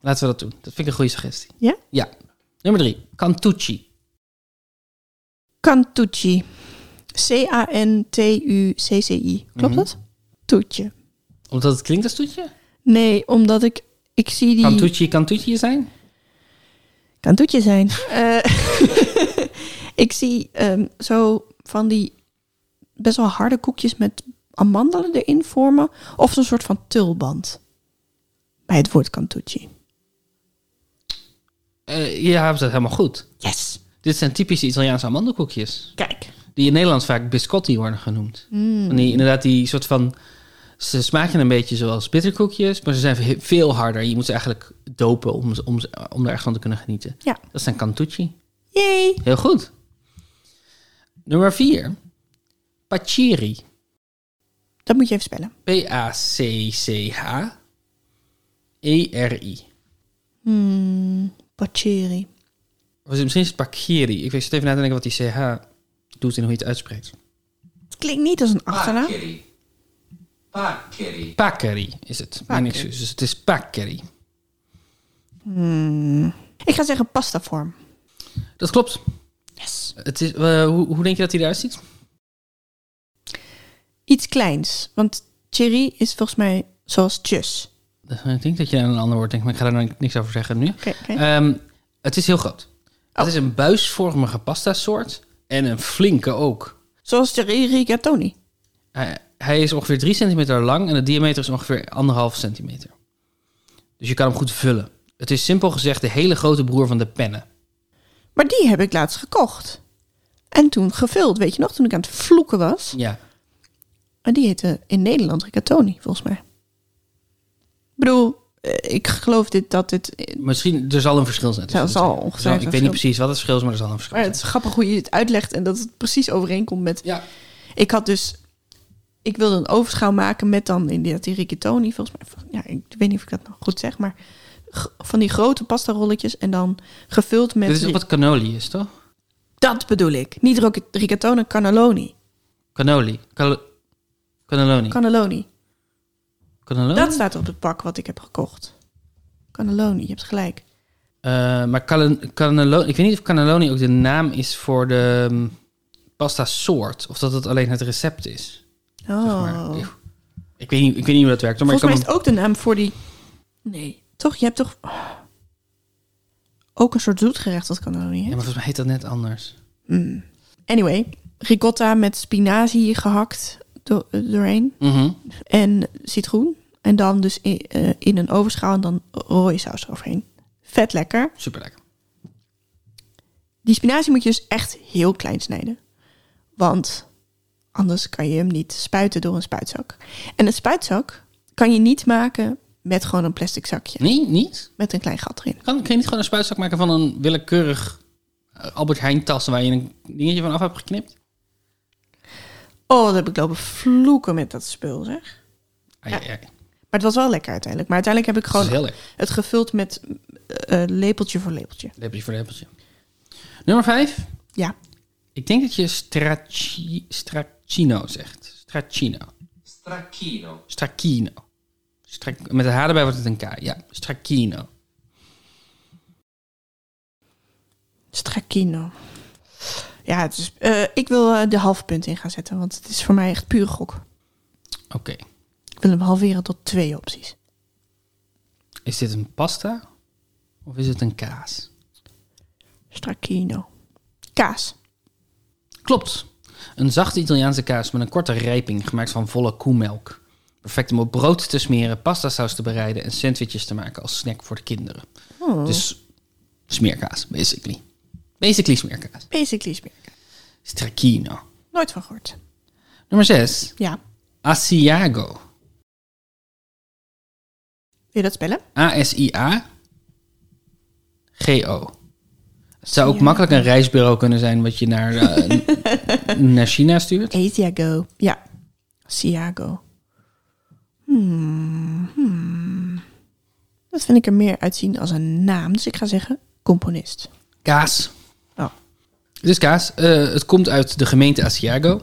[SPEAKER 2] Laten we dat doen. Dat vind ik een goede suggestie.
[SPEAKER 1] Ja?
[SPEAKER 2] Ja. Nummer drie. Cantucci.
[SPEAKER 1] Cantucci. C-A-N-T-U-C-C-I. Klopt
[SPEAKER 2] Mhm.
[SPEAKER 1] dat? Toetje.
[SPEAKER 2] Omdat het klinkt als toetje?
[SPEAKER 1] Nee, omdat ik... Ik zie die...
[SPEAKER 2] Cantucci, Cantucci zijn?
[SPEAKER 1] Kan toetje zijn. Eh, ik zie ehm, zo van die best wel harde koekjes met amandelen erin vormen. Of zo'n soort van tulband. Bij het woord kantoetje.
[SPEAKER 2] Eh, ja, dat is helemaal goed.
[SPEAKER 1] Yes.
[SPEAKER 2] Dit zijn typische Italiaanse amandelkoekjes.
[SPEAKER 1] Kijk.
[SPEAKER 2] Die in Nederland vaak biscotti worden genoemd. Van die, inderdaad, die soort van... Ze smaken een beetje zoals bitterkoekjes, maar ze zijn ve- veel harder. Je moet ze eigenlijk dopen om, ze- om, ze- om er echt van te kunnen genieten.
[SPEAKER 1] Ja.
[SPEAKER 2] Dat zijn cantucci.
[SPEAKER 1] Yay.
[SPEAKER 2] Heel goed. Nummer 4. Pacchiri.
[SPEAKER 1] Dat moet je even spellen.
[SPEAKER 2] P-A-C-C-H-E-R-I. E
[SPEAKER 1] Hmm. Pacheri.
[SPEAKER 2] Of is het- misschien is het Pacchiri. Ik weet zit even na te denken wat die CH doet en hoe je het uitspreekt.
[SPEAKER 1] Het klinkt niet als een achternaam.
[SPEAKER 3] Paccheri. Paccheri.
[SPEAKER 2] Paccheri is het. Mijn
[SPEAKER 1] Paccheri.
[SPEAKER 2] excuses. Dus het is Paccheri.
[SPEAKER 1] Ik ga zeggen pastavorm.
[SPEAKER 2] Dat klopt.
[SPEAKER 1] Yes.
[SPEAKER 2] Het is, eh, hoe, hoe denk je dat hij eruit ziet?
[SPEAKER 1] Iets kleins. Want cherry is volgens mij zoals tjus.
[SPEAKER 2] Eh, Ik denk dat je aan een ander woord denkt, maar ik ga daar nou niks over zeggen nu.
[SPEAKER 1] Oké. oké.
[SPEAKER 2] Ehm, het is heel groot.
[SPEAKER 1] Oh.
[SPEAKER 2] Het is een buisvormige pasta soort en een flinke ook.
[SPEAKER 1] Zoals cherry rigatoni.
[SPEAKER 2] Hij, hij is ongeveer 3 centimeter lang en de diameter is ongeveer 1,5 centimeter. Dus je kan hem goed vullen. Het is simpel gezegd de hele grote broer van de pennen.
[SPEAKER 1] Maar die heb ik laatst gekocht. En toen gevuld, weet je nog, toen ik aan het vloeken was.
[SPEAKER 2] Ja.
[SPEAKER 1] Maar die heette in Nederland rigatoni, volgens mij. Ik bedoel, eh, ik geloof dit, dat dit... eh,
[SPEAKER 2] Misschien, er zal een verschil zijn. tussen
[SPEAKER 1] Ja,
[SPEAKER 2] de
[SPEAKER 1] zal
[SPEAKER 2] twee.
[SPEAKER 1] ongetwijfeld
[SPEAKER 2] Er zal- Ik weet niet
[SPEAKER 1] verschil.
[SPEAKER 2] precies wat het verschil is, maar er zal een verschil
[SPEAKER 1] Maar
[SPEAKER 2] zijn.
[SPEAKER 1] het is grappig hoe je het uitlegt en dat het precies overeenkomt met...
[SPEAKER 2] Ja.
[SPEAKER 1] Ik had dus... Ik wilde een overschaal maken met dan inderdaad die rigatoni, volgens mij. Ja, ik weet niet of ik dat nog goed zeg, maar... g- Van die grote pasta rolletjes en dan gevuld met...
[SPEAKER 2] Dit is ook wat cannoli is, toch?
[SPEAKER 1] Dat bedoel ik. Niet rocket- rigatoni, cannelloni.
[SPEAKER 2] Cannoli. Cal- Cannelloni.
[SPEAKER 1] Cannelloni.
[SPEAKER 2] Cannelloni?
[SPEAKER 1] Dat staat op het pak wat ik heb gekocht. Cannelloni, je hebt gelijk.
[SPEAKER 2] Eh, maar callen- cannelloni... Ik weet niet of cannelloni ook de naam is voor de mm, pasta soort. Of dat het alleen het recept is.
[SPEAKER 1] Oh.
[SPEAKER 2] zeg maar. Ik- Ik weet, niet, ik weet niet hoe dat werkt. hoor, Maar
[SPEAKER 1] Volgens mij
[SPEAKER 2] ik
[SPEAKER 1] is
[SPEAKER 2] kan
[SPEAKER 1] het ook de naam voor die... Nee. Toch? Je hebt toch... Ook een soort zoetgerecht dat cannelloni,
[SPEAKER 2] me- Ja,
[SPEAKER 1] hè?
[SPEAKER 2] maar volgens mij heet dat net anders.
[SPEAKER 1] Mm. Anyway, ricotta met spinazie gehakt do- doorheen.
[SPEAKER 2] Mhm.
[SPEAKER 1] En citroen. En dan dus in, eh, in een overschaal en dan rode saus eroverheen. Vet lekker.
[SPEAKER 2] Super lekker.
[SPEAKER 1] Die spinazie moet je dus echt heel klein snijden. Want anders kan je hem niet spuiten door een spuitzak. En een spuitzak kan je niet maken met gewoon een plastic zakje.
[SPEAKER 2] Nee, niet?
[SPEAKER 1] Met een klein gat erin.
[SPEAKER 2] Kan, kan je niet gewoon een spuitzak maken van een willekeurig eh, Albert Heijn tas... waar je een dingetje van af hebt geknipt?
[SPEAKER 1] Oh, dat heb ik lopen vloeken met dat spul, zeg.
[SPEAKER 2] Ai, ai, ai.
[SPEAKER 1] Maar het was wel lekker uiteindelijk. Maar uiteindelijk heb ik
[SPEAKER 2] Dat is
[SPEAKER 1] gewoon
[SPEAKER 2] heel lekker.
[SPEAKER 1] het gevuld met eh, eh, lepeltje voor lepeltje.
[SPEAKER 2] Lepeltje voor lepeltje. Nummer 5.
[SPEAKER 1] Ja.
[SPEAKER 2] Ik denk dat je Straci- Stracchino zegt. Stracchino.
[SPEAKER 3] Stracchino.
[SPEAKER 2] Stracchino. Strac- Met de H erbij wordt het een K. Ja, Stracchino.
[SPEAKER 1] Stracchino. Ja, het is, eh, ik wil eh, de halve punt in gaan zetten, want het is voor mij echt puur gok.
[SPEAKER 2] Oké.
[SPEAKER 1] Ik wil hem halveren tot twee opties.
[SPEAKER 2] Is dit een pasta? Of is het een kaas?
[SPEAKER 1] Stracchino. Kaas.
[SPEAKER 2] Klopt. Een zachte Italiaanse kaas met een korte rijping gemaakt van volle koemelk. Perfect om op brood te smeren, pastasaus te bereiden en sandwiches te maken als snack voor de kinderen.
[SPEAKER 1] Oh.
[SPEAKER 2] Dus smeerkaas, basically. Basically smeerkaas.
[SPEAKER 1] Basically smeerkaas.
[SPEAKER 2] Stracchino.
[SPEAKER 1] Nooit van gehoord.
[SPEAKER 2] Nummer 6.
[SPEAKER 1] Ja.
[SPEAKER 2] Asiago.
[SPEAKER 1] Wil je dat spellen?
[SPEAKER 2] A-S-I-A-G-O. Het zou ook
[SPEAKER 1] Ja.
[SPEAKER 2] makkelijk een reisbureau kunnen zijn wat je naar, eh, naar China stuurt.
[SPEAKER 1] Asiago. Ja. Asiago. Hmm, hmm. Dat vind ik er meer uitzien als een naam. Dus ik ga zeggen componist.
[SPEAKER 2] Kaas.
[SPEAKER 1] Oh.
[SPEAKER 2] Dus kaas. eh, het komt uit de gemeente Asiago.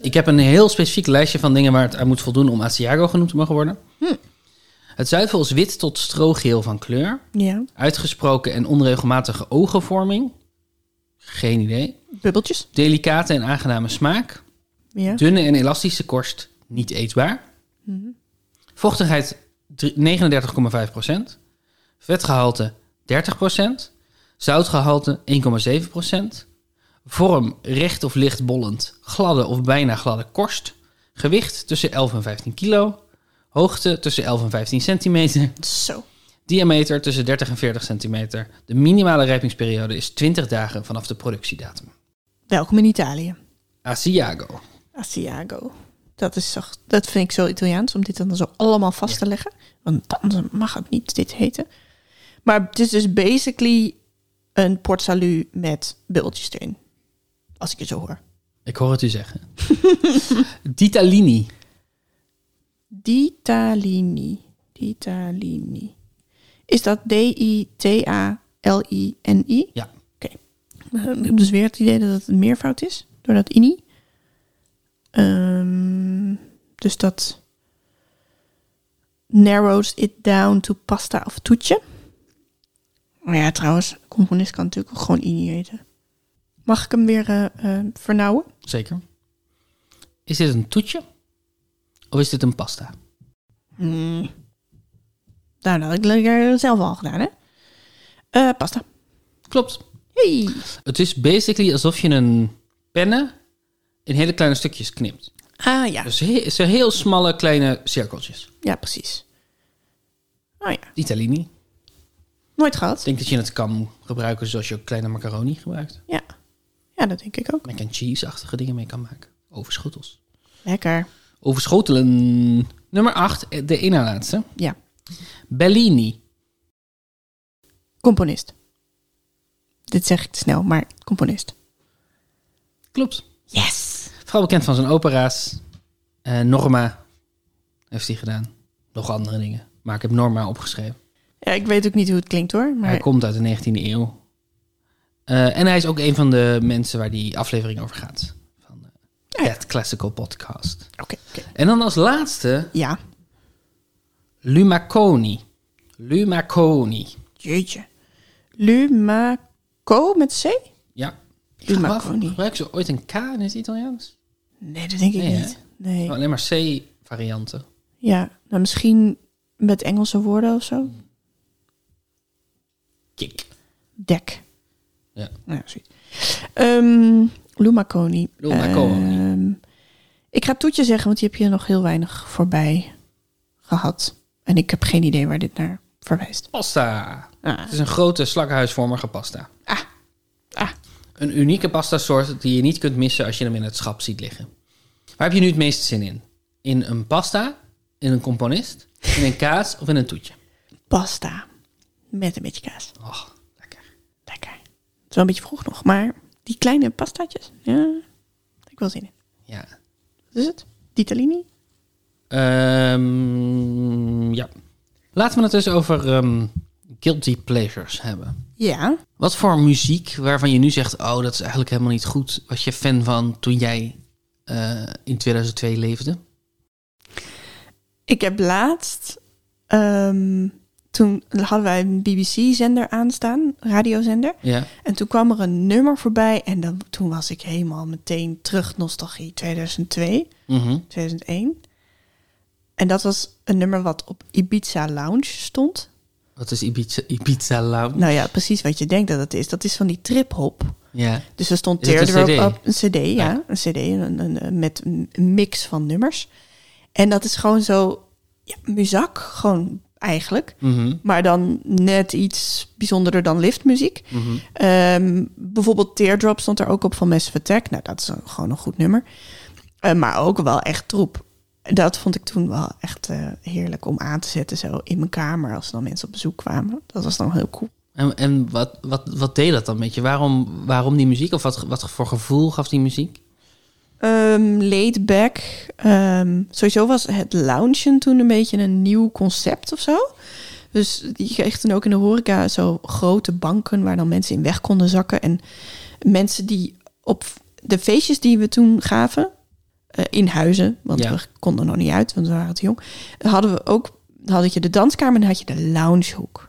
[SPEAKER 2] Ik heb een heel specifiek lijstje van dingen waar het aan moet voldoen om Asiago genoemd te mogen worden. Het zuivel is wit tot strogeel van kleur.
[SPEAKER 1] Ja.
[SPEAKER 2] Uitgesproken en onregelmatige ogenvorming. Geen idee.
[SPEAKER 1] Bubbeltjes.
[SPEAKER 2] Delicate en aangename smaak.
[SPEAKER 1] Ja.
[SPEAKER 2] Dunne en elastische korst, niet eetbaar. Vochtigheid drie- 39,5%. Vetgehalte 30%. Zoutgehalte 1,7%. Vorm recht of licht bollend, gladde of bijna gladde korst. Gewicht tussen 11 en 15 kilo. Hoogte tussen 11 en 15 centimeter.
[SPEAKER 1] Zo.
[SPEAKER 2] Diameter tussen 30 en 40 centimeter. De minimale rijpingsperiode is 20 dagen vanaf de productiedatum.
[SPEAKER 1] Welkom in Italië.
[SPEAKER 2] Asiago.
[SPEAKER 1] Asiago. Dat, is zo, dat vind ik zo Italiaans, om dit dan zo allemaal vast te leggen. Want dan mag het niet dit heten. Maar het is dus basically een port salut met bubbeltjes erin. Als ik het zo hoor.
[SPEAKER 2] Ik hoor het u zeggen. Ditalini.
[SPEAKER 1] Ditalini. Ditalini. Is dat D-I-T-A-L-I-N-I?
[SPEAKER 2] Ja.
[SPEAKER 1] Oké. Eh, Ik heb dus weer het idee dat het een meervoud is, door dat ini. Ehm, dus dat narrows it down to pasta of toetje. Maar ja, trouwens, componist kan natuurlijk ook gewoon ini eten. Mag ik hem weer eh, eh, vernauwen?
[SPEAKER 2] Zeker. Is dit een toetje? Of is dit een pasta?
[SPEAKER 1] Hmm. Nou, dat had ik lekker zelf al gedaan, hè? Eh, pasta.
[SPEAKER 2] Klopt.
[SPEAKER 1] Hey.
[SPEAKER 2] Het is basically alsof je een penne in hele kleine stukjes knipt.
[SPEAKER 1] Ah ja,
[SPEAKER 2] Dus he- het zijn heel smalle kleine cirkeltjes.
[SPEAKER 1] ja precies. Oh ja,
[SPEAKER 2] Italini.
[SPEAKER 1] nooit
[SPEAKER 2] Ik
[SPEAKER 1] gehad.
[SPEAKER 2] denk dat je het kan gebruiken zoals je ook kleine macaroni gebruikt.
[SPEAKER 1] Ja. ja, dat denk ik ook.
[SPEAKER 2] Mac en cheese-achtige dingen mee kan maken. Overschotels.
[SPEAKER 1] Lekker.
[SPEAKER 2] Overschotelen. Nummer 8, de ene laatste.
[SPEAKER 1] Ja,
[SPEAKER 2] Bellini.
[SPEAKER 1] componist. Dit zeg ik te snel, maar componist.
[SPEAKER 2] Klopt.
[SPEAKER 1] Yes!
[SPEAKER 2] Vooral bekend van zijn opera's. Eh, Norma heeft hij gedaan. Nog andere dingen. Maar ik heb Norma opgeschreven.
[SPEAKER 1] Ja, ik weet ook niet hoe het klinkt hoor,
[SPEAKER 2] Hij
[SPEAKER 1] maar
[SPEAKER 2] komt uit de 19e eeuw. Eh, en hij is ook een van de mensen waar die aflevering over gaat. Van eh, het Classical Podcast.
[SPEAKER 1] oké. oké.
[SPEAKER 2] En dan als laatste
[SPEAKER 1] Ja,
[SPEAKER 2] Lumaconi. Lumaconi.
[SPEAKER 1] jeetje. Lumaco met C?
[SPEAKER 2] Ja.
[SPEAKER 1] Lumaconi.
[SPEAKER 2] Gebruik ze ooit een K in het Italiaans?
[SPEAKER 1] Nee, dat denk ik
[SPEAKER 2] Nee, hè?
[SPEAKER 1] niet. Nee.
[SPEAKER 2] Alleen maar C-varianten.
[SPEAKER 1] Ja, nou misschien met Engelse woorden of zo.
[SPEAKER 2] Kik.
[SPEAKER 1] Dek.
[SPEAKER 2] Ja.
[SPEAKER 1] Nou, zoiets. Ehm Lumaconi.
[SPEAKER 2] Lumaconi.
[SPEAKER 1] Ehm, ik ga toetje zeggen, want die heb je nog heel weinig voorbij gehad. En ik heb geen idee waar dit naar verwijst.
[SPEAKER 2] Pasta.
[SPEAKER 1] Ah.
[SPEAKER 2] Het is een grote slakkenhuisvormige pasta.
[SPEAKER 1] Ah. Ah.
[SPEAKER 2] Een unieke pasta soort die je niet kunt missen als je hem in het schap ziet liggen. Waar heb je nu het meeste zin in? In een pasta, in een componist, in een kaas of in een toetje?
[SPEAKER 1] Pasta. Met een beetje kaas.
[SPEAKER 2] Och, lekker.
[SPEAKER 1] Lekker. Het is wel een beetje vroeg nog, maar die kleine pastaatjes. Ja, ik wil zin in.
[SPEAKER 2] Ja.
[SPEAKER 1] Wat is het? Ditalini?
[SPEAKER 2] Ehm, ja. Laten we het dus over ehm guilty pleasures hebben.
[SPEAKER 1] Ja.
[SPEAKER 2] Wat voor muziek waarvan je nu zegt, oh, dat is eigenlijk helemaal niet goed, was je fan van toen jij eh, in 2002 leefde?
[SPEAKER 1] Ik heb laatst, ehm, toen hadden wij een BBC-zender aanstaan, radiozender.
[SPEAKER 2] Ja.
[SPEAKER 1] En toen kwam er een nummer voorbij en dan, toen was ik helemaal meteen terug nostalgie 2002,
[SPEAKER 2] Mhm.
[SPEAKER 1] 2001. En dat was een nummer wat op Ibiza Lounge stond.
[SPEAKER 2] Wat is Ibiza, Ibiza Lounge?
[SPEAKER 1] Nou ja, precies wat je denkt dat het is. Dat is van die trip-hop.
[SPEAKER 2] Ja.
[SPEAKER 1] Dus er stond
[SPEAKER 2] Is het
[SPEAKER 1] Tear
[SPEAKER 2] een
[SPEAKER 1] the
[SPEAKER 2] CD?
[SPEAKER 1] Rope Up, een CD, ja. Een CD een, een- een- met een mix van nummers. En dat is gewoon zo, ja, muzak, gewoon eigenlijk.
[SPEAKER 2] Mhm.
[SPEAKER 1] Maar dan net iets bijzonderder dan liftmuziek. Ehm, bijvoorbeeld Teardrop stond er ook op van Massive Attack. Nou, dat is een- gewoon een goed nummer. Eh, maar ook wel echt troep. Dat vond ik toen wel echt eh, heerlijk om aan te zetten zo in mijn kamer. Als er dan mensen op bezoek kwamen. Dat was dan heel cool.
[SPEAKER 2] En, en wat, wat, wat deed dat dan met je? Waarom, waarom die muziek? Of wat, wat voor gevoel gaf die muziek?
[SPEAKER 1] Ehm laid back. Ehm, sowieso was het loungen toen een beetje een nieuw concept of zo. Dus je kreeg toen ook in de horeca zo grote banken waar dan mensen in weg konden zakken. En mensen die op de feestjes die we toen gaven, eh, in huizen, want
[SPEAKER 2] Ja.
[SPEAKER 1] we konden nog niet uit, want we waren te jong, hadden we ook, dan had je de danskamer en dan had je de loungehoek.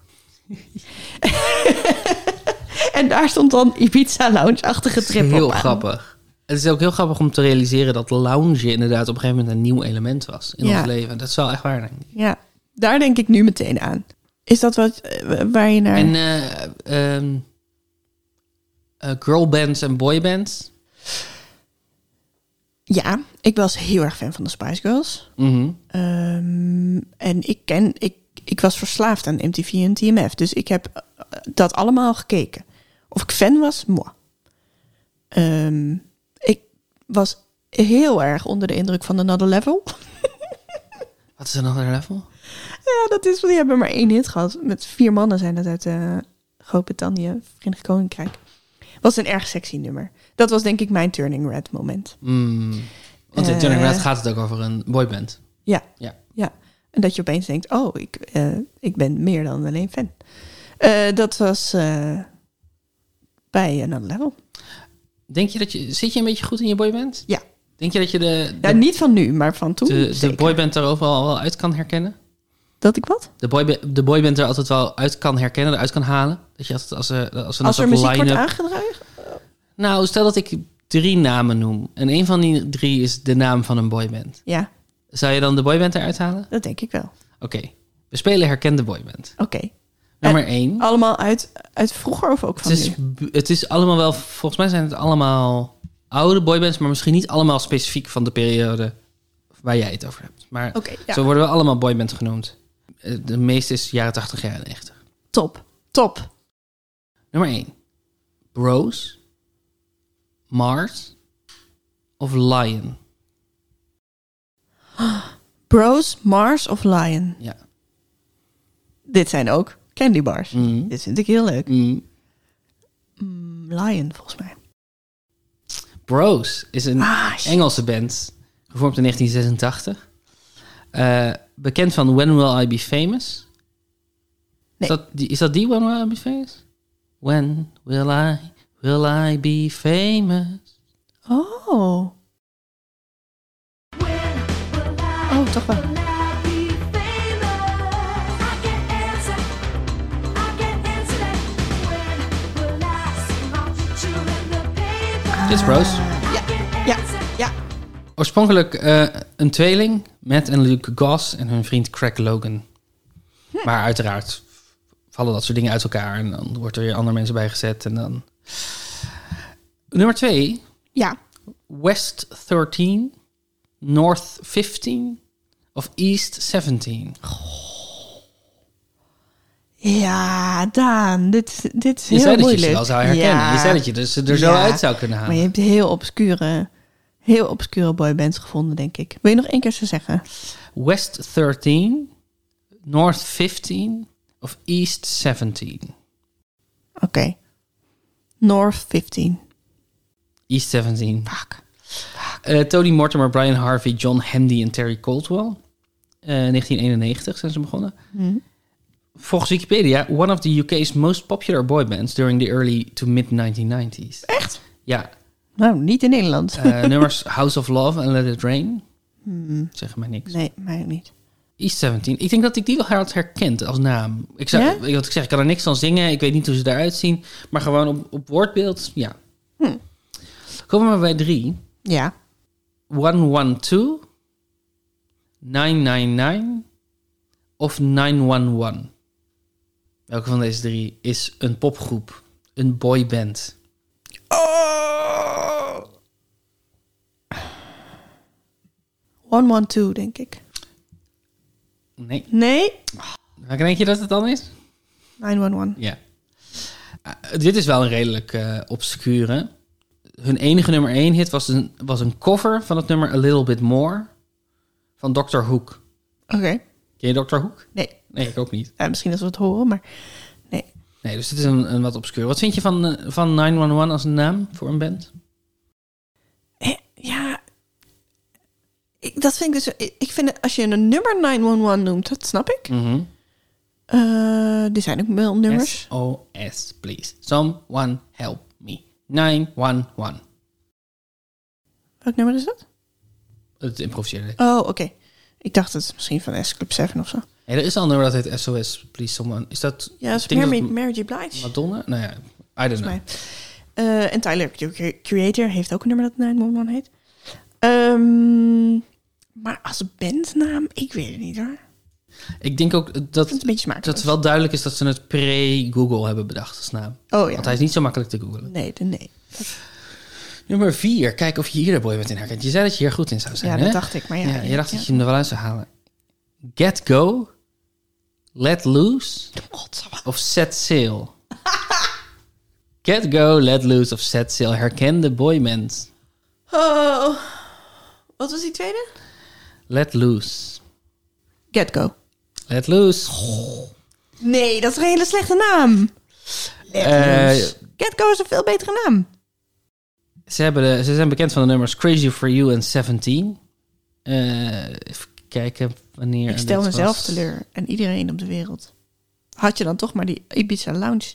[SPEAKER 1] en daar stond dan Ibiza Lounge-achtige trip op
[SPEAKER 2] Heel
[SPEAKER 1] aan.
[SPEAKER 2] grappig. Het is ook heel grappig om te realiseren dat lounge inderdaad op een gegeven moment een nieuw element was in
[SPEAKER 1] Ja.
[SPEAKER 2] ons leven. Dat is wel echt waar, denk ik.
[SPEAKER 1] Ja, daar denk ik nu meteen aan. Is dat wat eh, waar je naar...
[SPEAKER 2] En eh, ehm, eh, girlbands en boybands.
[SPEAKER 1] Ja, ik was heel erg fan van de Spice Girls.
[SPEAKER 2] Mhm.
[SPEAKER 1] Ehm, en ik, ken, ik, ik was verslaafd aan MTV en TMF. Dus ik heb eh, dat allemaal gekeken. Of ik fan was, moi. Ehm, ik was heel erg onder de indruk van Another Level.
[SPEAKER 2] Wat is een ander level?
[SPEAKER 1] ja, Oh, dat is, die hebben maar één hit gehad. Met vier mannen zijn dat uit eh, Groot-Brittannië, Verenigd Koninkrijk. Was een erg sexy nummer. Dat was denk ik mijn turning red moment.
[SPEAKER 2] Mm. Want in
[SPEAKER 1] Eh.
[SPEAKER 2] Turning Red gaat het ook over een boyband.
[SPEAKER 1] Ja.
[SPEAKER 2] Ja.
[SPEAKER 1] ja. En dat je opeens denkt, oh, ik, eh, ik ben meer dan alleen fan. Eh, dat was eh, bij Another Level.
[SPEAKER 2] Denk je dat je... Zit je een beetje goed in je boyband?
[SPEAKER 1] Ja.
[SPEAKER 2] Denk je dat je de,
[SPEAKER 1] Ja,
[SPEAKER 2] de,
[SPEAKER 1] niet van nu, maar van toen.
[SPEAKER 2] de, de
[SPEAKER 1] zeker.
[SPEAKER 2] boyband er overal wel uit kan herkennen?
[SPEAKER 1] Dat ik wat?
[SPEAKER 2] de, boy, de boyband er altijd wel uit kan herkennen, eruit kan halen. Dat je altijd als, eh, als een
[SPEAKER 1] Als er
[SPEAKER 2] soort
[SPEAKER 1] muziek wordt
[SPEAKER 2] line-up...
[SPEAKER 1] aangedragen?
[SPEAKER 2] Nou, stel dat ik drie namen noem. En een van die drie is de naam van een boyband.
[SPEAKER 1] Ja,
[SPEAKER 2] Zou je dan de boyband eruit halen?
[SPEAKER 1] dat denk ik wel.
[SPEAKER 2] Oké. We spelen herkende boyband.
[SPEAKER 1] Oké.
[SPEAKER 2] Nummer
[SPEAKER 1] Eh,
[SPEAKER 2] één.
[SPEAKER 1] Allemaal uit, uit vroeger of ook
[SPEAKER 2] Het
[SPEAKER 1] van
[SPEAKER 2] is,
[SPEAKER 1] nu?
[SPEAKER 2] b- het is allemaal wel... Volgens mij zijn het allemaal oude boybands... maar misschien niet allemaal specifiek van de periode waar jij het over hebt. Maar
[SPEAKER 1] Oké, Oh, ja.
[SPEAKER 2] zo worden we allemaal boyband genoemd. Eh, De meeste is jaren 80, jaren 90.
[SPEAKER 1] Top. Top.
[SPEAKER 2] Nummer 1. Bros. Mars. Of Lion.
[SPEAKER 1] Bros, Mars of Lion.
[SPEAKER 2] Ja.
[SPEAKER 1] Dit zijn ook candy bars.
[SPEAKER 2] Mm.
[SPEAKER 1] Dit vind ik heel leuk.
[SPEAKER 2] Mm.
[SPEAKER 1] Mm, Lion, volgens mij.
[SPEAKER 2] Bros is een
[SPEAKER 1] Ah, shit.
[SPEAKER 2] Engelse band. Gevormd in 1986. Eh, bekend van When Will I Be Famous.
[SPEAKER 1] Nee.
[SPEAKER 2] Is, dat die, is dat die When Will I Be Famous? When will I, will I be famous?
[SPEAKER 1] Oh. Oh, toch wel.
[SPEAKER 2] Dit is Bros.
[SPEAKER 1] Ja, ja.
[SPEAKER 2] Oorspronkelijk eh, een tweeling, Matt en Luke Goss en hun vriend Craig Logan.
[SPEAKER 1] Hm.
[SPEAKER 2] Maar uiteraard vallen dat soort dingen uit elkaar en dan wordt er weer andere mensen bij gezet. En dan... Nummer 2,
[SPEAKER 1] Ja.
[SPEAKER 2] West 13, North 15 of East 17.
[SPEAKER 1] Ja, Daan, dit, dit is
[SPEAKER 2] Je
[SPEAKER 1] heel
[SPEAKER 2] zei dat je
[SPEAKER 1] moeilijk.
[SPEAKER 2] ze wel zou herkennen.
[SPEAKER 1] Ja,
[SPEAKER 2] Je zei dat je dus er zo
[SPEAKER 1] Ja.
[SPEAKER 2] uit zou kunnen
[SPEAKER 1] Maar je
[SPEAKER 2] halen.
[SPEAKER 1] hebt heel obscure, heel obscure boybands gevonden, denk ik. Wil je nog één keer zo zeggen?
[SPEAKER 2] West 13, North 15 of East 17.
[SPEAKER 1] Oké. North 15.
[SPEAKER 2] East 17.
[SPEAKER 1] Fuck.
[SPEAKER 2] Eh, Tony Mortimer, Brian Harvey,
[SPEAKER 1] Mhm.
[SPEAKER 2] John Handy en Terry Caldwell. Eh, 1991 zijn ze begonnen. volgens Wikipedia one of the UK's most popular boy bands during the early to mid 1990s.
[SPEAKER 1] Echt?
[SPEAKER 2] Ja,
[SPEAKER 1] Nou, niet in Nederland.
[SPEAKER 2] eh, nummers House of Love en Let It Rain
[SPEAKER 1] Mhm.
[SPEAKER 2] zeggen mij niks.
[SPEAKER 1] nee, mij ook niet.
[SPEAKER 2] East 17. Ik denk dat ik die wel had herkend als naam. Ik zou,
[SPEAKER 1] Ja?
[SPEAKER 2] weet je wat ik zeg, ik kan er niks van zingen. Ik weet niet hoe ze eruit zien. Maar gewoon op, op woordbeeld, ja.
[SPEAKER 1] Hm.
[SPEAKER 2] Komen we maar bij drie.
[SPEAKER 1] Ja.
[SPEAKER 2] 112, 999 of 911? Welke van deze drie is een popgroep, een boyband?
[SPEAKER 1] Oh! 112, denk ik.
[SPEAKER 2] Nee.
[SPEAKER 1] Nee?
[SPEAKER 2] Welke denk je dat het dan is?
[SPEAKER 1] 911.
[SPEAKER 2] Ja. Eh, dit is wel een redelijk eh, obscure. Hun enige nummer 1 hit was een, was een cover van het nummer A Little Bit More van Dr. Hook.
[SPEAKER 1] Oké.
[SPEAKER 2] Ken je Dr. Hook?
[SPEAKER 1] Nee.
[SPEAKER 2] Nee, ik ook niet.
[SPEAKER 1] Ja, misschien als we het horen, maar nee.
[SPEAKER 2] Nee, dus dit is een, een wat obscuur. Wat vind je van, eh, van 911 als een naam voor een band?
[SPEAKER 1] Eh, Ja. Ik, dat vind ik dus. Ik ik vind het- als je een nummer 911 noemt, dat snap ik.
[SPEAKER 2] Mhm.
[SPEAKER 1] Eh, er zijn ook wel nummers.
[SPEAKER 2] SOS, please. Someone help me. 911.
[SPEAKER 1] Welk nummer is dat?
[SPEAKER 2] Het improviseerde. ik.
[SPEAKER 1] Oh, oké. Ik dacht het is misschien van S Club 7 of zo.
[SPEAKER 2] Nee, er is al een nummer dat heet SOS, please someone. Is dat...
[SPEAKER 1] Ja, dat is
[SPEAKER 2] ik denk
[SPEAKER 1] Mary,
[SPEAKER 2] dat
[SPEAKER 1] Mary J. Blige.
[SPEAKER 2] Madonna? Nou ja, I don't
[SPEAKER 1] volgens
[SPEAKER 2] know.
[SPEAKER 1] mij. Eh, en Tyler, de creator, heeft ook een nummer dat 911 heet. Ehm, maar als bandnaam, ik weet het niet hoor. Ik
[SPEAKER 2] Ik denk ook
[SPEAKER 1] vind het
[SPEAKER 2] dat,
[SPEAKER 1] een beetje smaak.
[SPEAKER 2] dat het wel duidelijk is dat ze het pre-Google hebben bedacht als naam.
[SPEAKER 1] Oh
[SPEAKER 2] Want
[SPEAKER 1] ja.
[SPEAKER 2] hij is niet zo makkelijk te googlen.
[SPEAKER 1] Nee, de- nee.
[SPEAKER 2] Nummer 4. Kijk of je hier de boy bent in herkent. Je zei dat je hier goed in zou zijn,
[SPEAKER 1] Ja,
[SPEAKER 2] hè?
[SPEAKER 1] dat dacht ik. Maar ja,
[SPEAKER 2] Ja, je dacht
[SPEAKER 1] ja.
[SPEAKER 2] dat je hem er wel uit zou halen. Get Go, Let Loose
[SPEAKER 1] Godsamme.
[SPEAKER 2] of Set Sail? Get Go, Let Loose of Set Sail. Herkende boyband.
[SPEAKER 1] Oh, wat was die tweede?
[SPEAKER 2] Let Loose.
[SPEAKER 1] Get Go.
[SPEAKER 2] Let Loose.
[SPEAKER 1] Nee, dat is een hele slechte naam.
[SPEAKER 2] Eh,
[SPEAKER 1] Get Go is een veel betere naam.
[SPEAKER 2] ze, hebben de- ze zijn bekend van de nummers Crazy For You en 17. Eh, even kijken wanneer...
[SPEAKER 1] Ik stel
[SPEAKER 2] dit
[SPEAKER 1] mezelf
[SPEAKER 2] was.
[SPEAKER 1] teleur en iedereen op de wereld. Had je dan toch maar die Ibiza Lounge?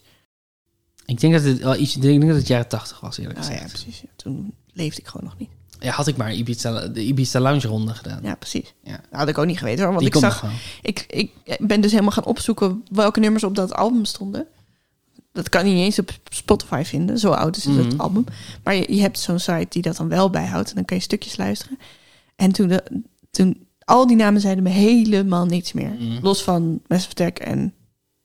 [SPEAKER 2] Ik denk dat het wel iets... Ik denk dat het jaren 80 was, eerlijk
[SPEAKER 1] Nou ja,
[SPEAKER 2] gezegd.
[SPEAKER 1] precies. Ja, Toen leefde ik gewoon nog niet.
[SPEAKER 2] Ja, had ik maar Ibiza, de Ibiza Lounge ronde gedaan.
[SPEAKER 1] Ja, precies.
[SPEAKER 2] Ja.
[SPEAKER 1] Dat had ik ook niet geweten hoor. Want
[SPEAKER 2] Die
[SPEAKER 1] ik
[SPEAKER 2] komt nog
[SPEAKER 1] zag.
[SPEAKER 2] wel.
[SPEAKER 1] Ik, ik ben dus helemaal gaan opzoeken welke nummers op dat album stonden. Dat kan je niet eens op Spotify vinden. Zo oud is het
[SPEAKER 2] Mhm.
[SPEAKER 1] album. Maar je, je hebt zo'n site die dat dan wel bijhoudt. En dan kan je stukjes luisteren. En toen, de, toen al die namen zeiden me helemaal niets meer. Los van Massive Attack en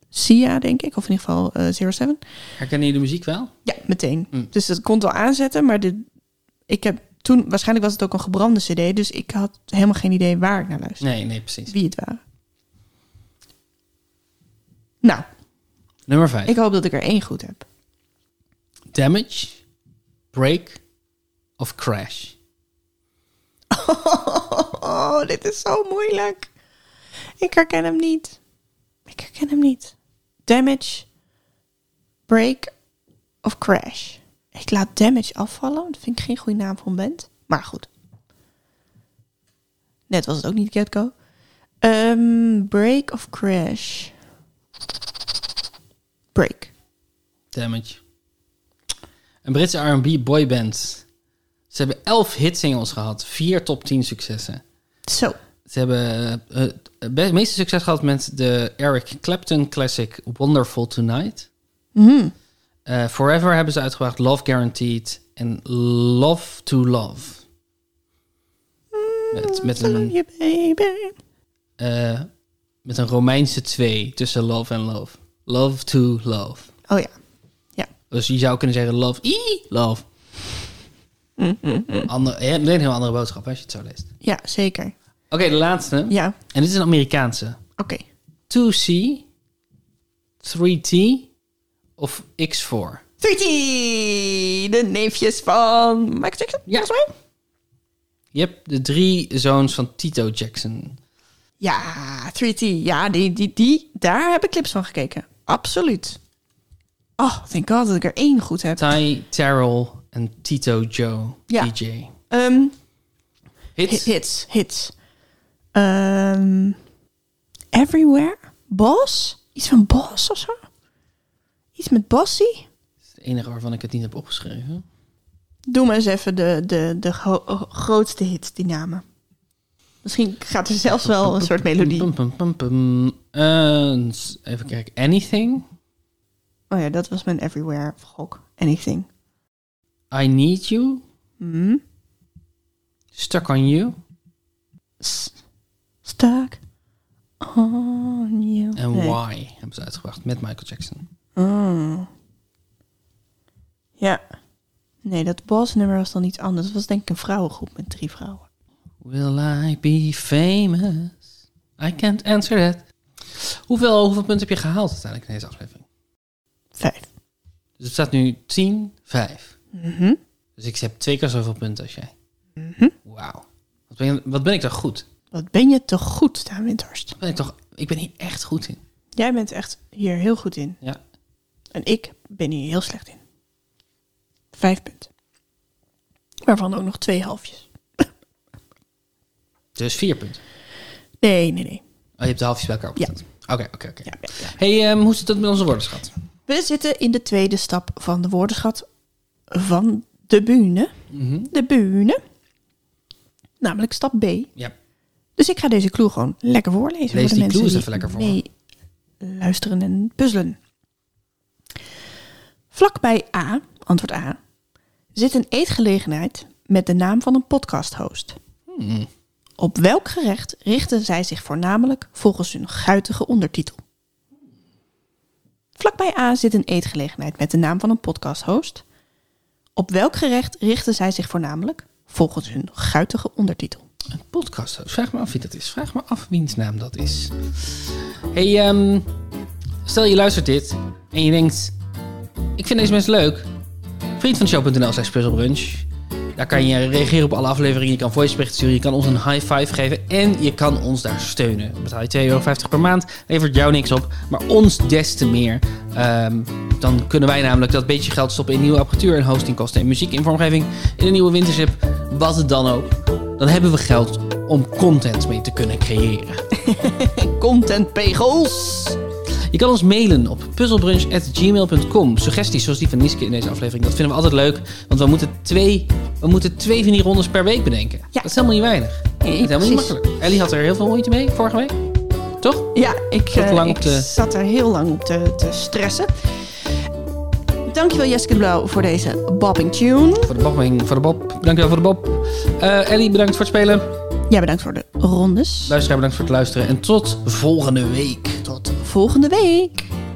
[SPEAKER 1] Sia, denk ik. Of in ieder geval eh Zero Seven.
[SPEAKER 2] Herkennen je de muziek wel?
[SPEAKER 1] Ja, meteen.
[SPEAKER 2] Mm.
[SPEAKER 1] Dus dat kon het wel aanzetten, maar dit, ik heb toen, waarschijnlijk was het ook een gebrande cd, dus ik had helemaal geen idee waar ik naar luisterde,
[SPEAKER 2] Nee, nee, precies.
[SPEAKER 1] wie het waren. Nou,
[SPEAKER 2] Nummer 5.
[SPEAKER 1] ik hoop dat ik er één goed heb.
[SPEAKER 2] Damage, Break of Crash?
[SPEAKER 1] Oh, dit is zo moeilijk. Ik herken hem niet. Ik herken hem niet. Damage, break of crash. Ik laat damage afvallen. Dat vind ik geen goede naam voor een band. Maar goed. Net was het ook niet Get Go. Ehm, break of crash. Break.
[SPEAKER 2] Damage. Een Britse R&B boyband. Ze hebben 11 hitsingles gehad, 4 top 10 successen.
[SPEAKER 1] Zo.
[SPEAKER 2] Ze hebben eh, het be- meeste succes gehad met de Eric Clapton classic Wonderful Tonight.
[SPEAKER 1] Mhm.
[SPEAKER 2] Eh, Forever hebben ze uitgebracht Love Guaranteed en Love to Love. Met, met
[SPEAKER 1] Follow
[SPEAKER 2] een
[SPEAKER 1] you, baby.
[SPEAKER 2] eh, met een Romeinse 2 tussen love en love. Love to love.
[SPEAKER 1] Oh ja.
[SPEAKER 2] Dus je zou kunnen zeggen love, i, love. Ander, ja, een heel andere boodschap als je het zo leest. Oké,
[SPEAKER 1] Ja, zeker.
[SPEAKER 2] de laatste.
[SPEAKER 1] Ja,
[SPEAKER 2] En dit is een Amerikaanse.
[SPEAKER 1] oké.
[SPEAKER 2] 2C, 3T of X4.
[SPEAKER 1] 3T, de neefjes van Michael Jackson,
[SPEAKER 2] Ja.
[SPEAKER 1] volgens mij.
[SPEAKER 2] Je hebt de drie zoons van Tito Jackson.
[SPEAKER 1] Ja, 3T, ja, die, die, die, daar heb ik clips van gekeken. Absoluut. Oh, thank god dat ik er één goed heb.
[SPEAKER 2] Ty, Terrell en Tito Joe,
[SPEAKER 1] Ja.
[SPEAKER 2] DJ.
[SPEAKER 1] Ehm, hi-
[SPEAKER 2] Hits?
[SPEAKER 1] hits, hits. Ehm, everywhere, Boss, Iets van Bos of zo? Iets met Bossie?
[SPEAKER 2] is het enige waarvan ik het niet heb opgeschreven.
[SPEAKER 1] Doe maar eens even de, de, de gro- grootste hits, die namen. Misschien gaat er zelfs wel een soort melodie.
[SPEAKER 2] Pum, pum, pum, pum. Eh, s- even kijken. Anything.
[SPEAKER 1] Oh ja, dat was mijn Everywhere of gok. Anything.
[SPEAKER 2] I need you.
[SPEAKER 1] Hm?
[SPEAKER 2] Stuck on you.
[SPEAKER 1] S- Stuck on you.
[SPEAKER 2] En
[SPEAKER 1] Nee.
[SPEAKER 2] why hebben ze uitgebracht met Michael Jackson.
[SPEAKER 1] Mm. Ja. Nee, dat Bos-nummer was dan iets anders. Het was denk ik een vrouwengroep met drie vrouwen.
[SPEAKER 2] Will I be famous? I can't answer that. Hoeveel, hoeveel punten heb je gehaald uiteindelijk in deze aflevering?
[SPEAKER 1] Vijf.
[SPEAKER 2] Dus het staat nu 10, 5.
[SPEAKER 1] Mhm.
[SPEAKER 2] Dus ik heb twee keer zoveel punten als jij.
[SPEAKER 1] Mhm.
[SPEAKER 2] Wauw. Wat ben, wat ben ik toch goed?
[SPEAKER 1] Wat ben je toch goed, Daan Windhorst.
[SPEAKER 2] Wat Ben ik, toch, ik ben hier echt goed in.
[SPEAKER 1] Jij bent echt hier heel goed in.
[SPEAKER 2] Ja.
[SPEAKER 1] En ik ben hier heel slecht in. Vijf punten. Waarvan ook nog twee halfjes.
[SPEAKER 2] Dus vier punten.
[SPEAKER 1] Nee, nee, nee.
[SPEAKER 2] Oh, je hebt de halfjes bij elkaar opgeteld. Oké, oké, oké.
[SPEAKER 1] Ja, ja, ja.
[SPEAKER 2] Hey, ehm, hoe zit het met onze woordenschat?
[SPEAKER 1] We zitten in de tweede stap van de woordenschat van de bühne.
[SPEAKER 2] Mhm.
[SPEAKER 1] De bühne. Namelijk stap B.
[SPEAKER 2] Ja.
[SPEAKER 1] Dus ik ga deze clue gewoon lekker voorlezen.
[SPEAKER 2] Lees
[SPEAKER 1] voor de
[SPEAKER 2] die
[SPEAKER 1] mensen
[SPEAKER 2] clues
[SPEAKER 1] die
[SPEAKER 2] even lekker voor.
[SPEAKER 1] mee luisteren en puzzelen. Vlakbij A, antwoord A, zit een eetgelegenheid met de naam van een podcasthost.
[SPEAKER 2] Hmm.
[SPEAKER 1] Op welk gerecht richten zij zich voornamelijk volgens hun guitige ondertitel? Vlakbij A zit een eetgelegenheid met de naam van een podcasthost. Op welk gerecht richten zij zich voornamelijk volgens hun guitige ondertitel?
[SPEAKER 2] Een podcast. Vraag me af wie dat is. Vraag me af wiens naam dat is. Hey, ehm, stel je luistert dit en je denkt... Ik vind deze mensen leuk. Vriend van show.nl slash puzzlebrunch. Daar kan je reageren op alle afleveringen. Je kan voiceberichten sturen. Je kan ons een high five geven. En je kan ons daar steunen. Dan Betaal je 2,50 euro per maand. Levert jou niks op. Maar ons des te meer. Ehm, dan kunnen wij namelijk dat beetje geld stoppen in nieuwe apparatuur. En hostingkosten en muziek in vormgeving. In een nieuwe wintership. Wat het dan ook. Dan hebben we geld om content mee te kunnen creëren.
[SPEAKER 1] Contentpegels!
[SPEAKER 2] Je kan ons mailen op puzzelbrunch.gmail.com. Suggesties zoals die van Niske in deze aflevering. Dat vinden we altijd leuk. Want we moeten twee, we moeten twee van die rondes per week bedenken. Dat is helemaal niet weinig. dat is helemaal
[SPEAKER 1] precies.
[SPEAKER 2] niet makkelijk. Ellie had er heel veel moeite mee vorige week. Toch?
[SPEAKER 1] Ja, ik,
[SPEAKER 2] Zat
[SPEAKER 1] eh,
[SPEAKER 2] lang
[SPEAKER 1] ik
[SPEAKER 2] op de-
[SPEAKER 1] zat er heel lang op te, te stressen. Dankjewel Jeske de Blauw voor deze bopping tune.
[SPEAKER 2] Voor de bobbing, voor de bob. Dankjewel voor de bob. Eh, Ellie, bedankt voor het spelen.
[SPEAKER 1] Ja, bedankt voor de rondes.
[SPEAKER 2] Luisteraar, bedankt voor het luisteren. En tot volgende week.
[SPEAKER 1] Tot volgende week.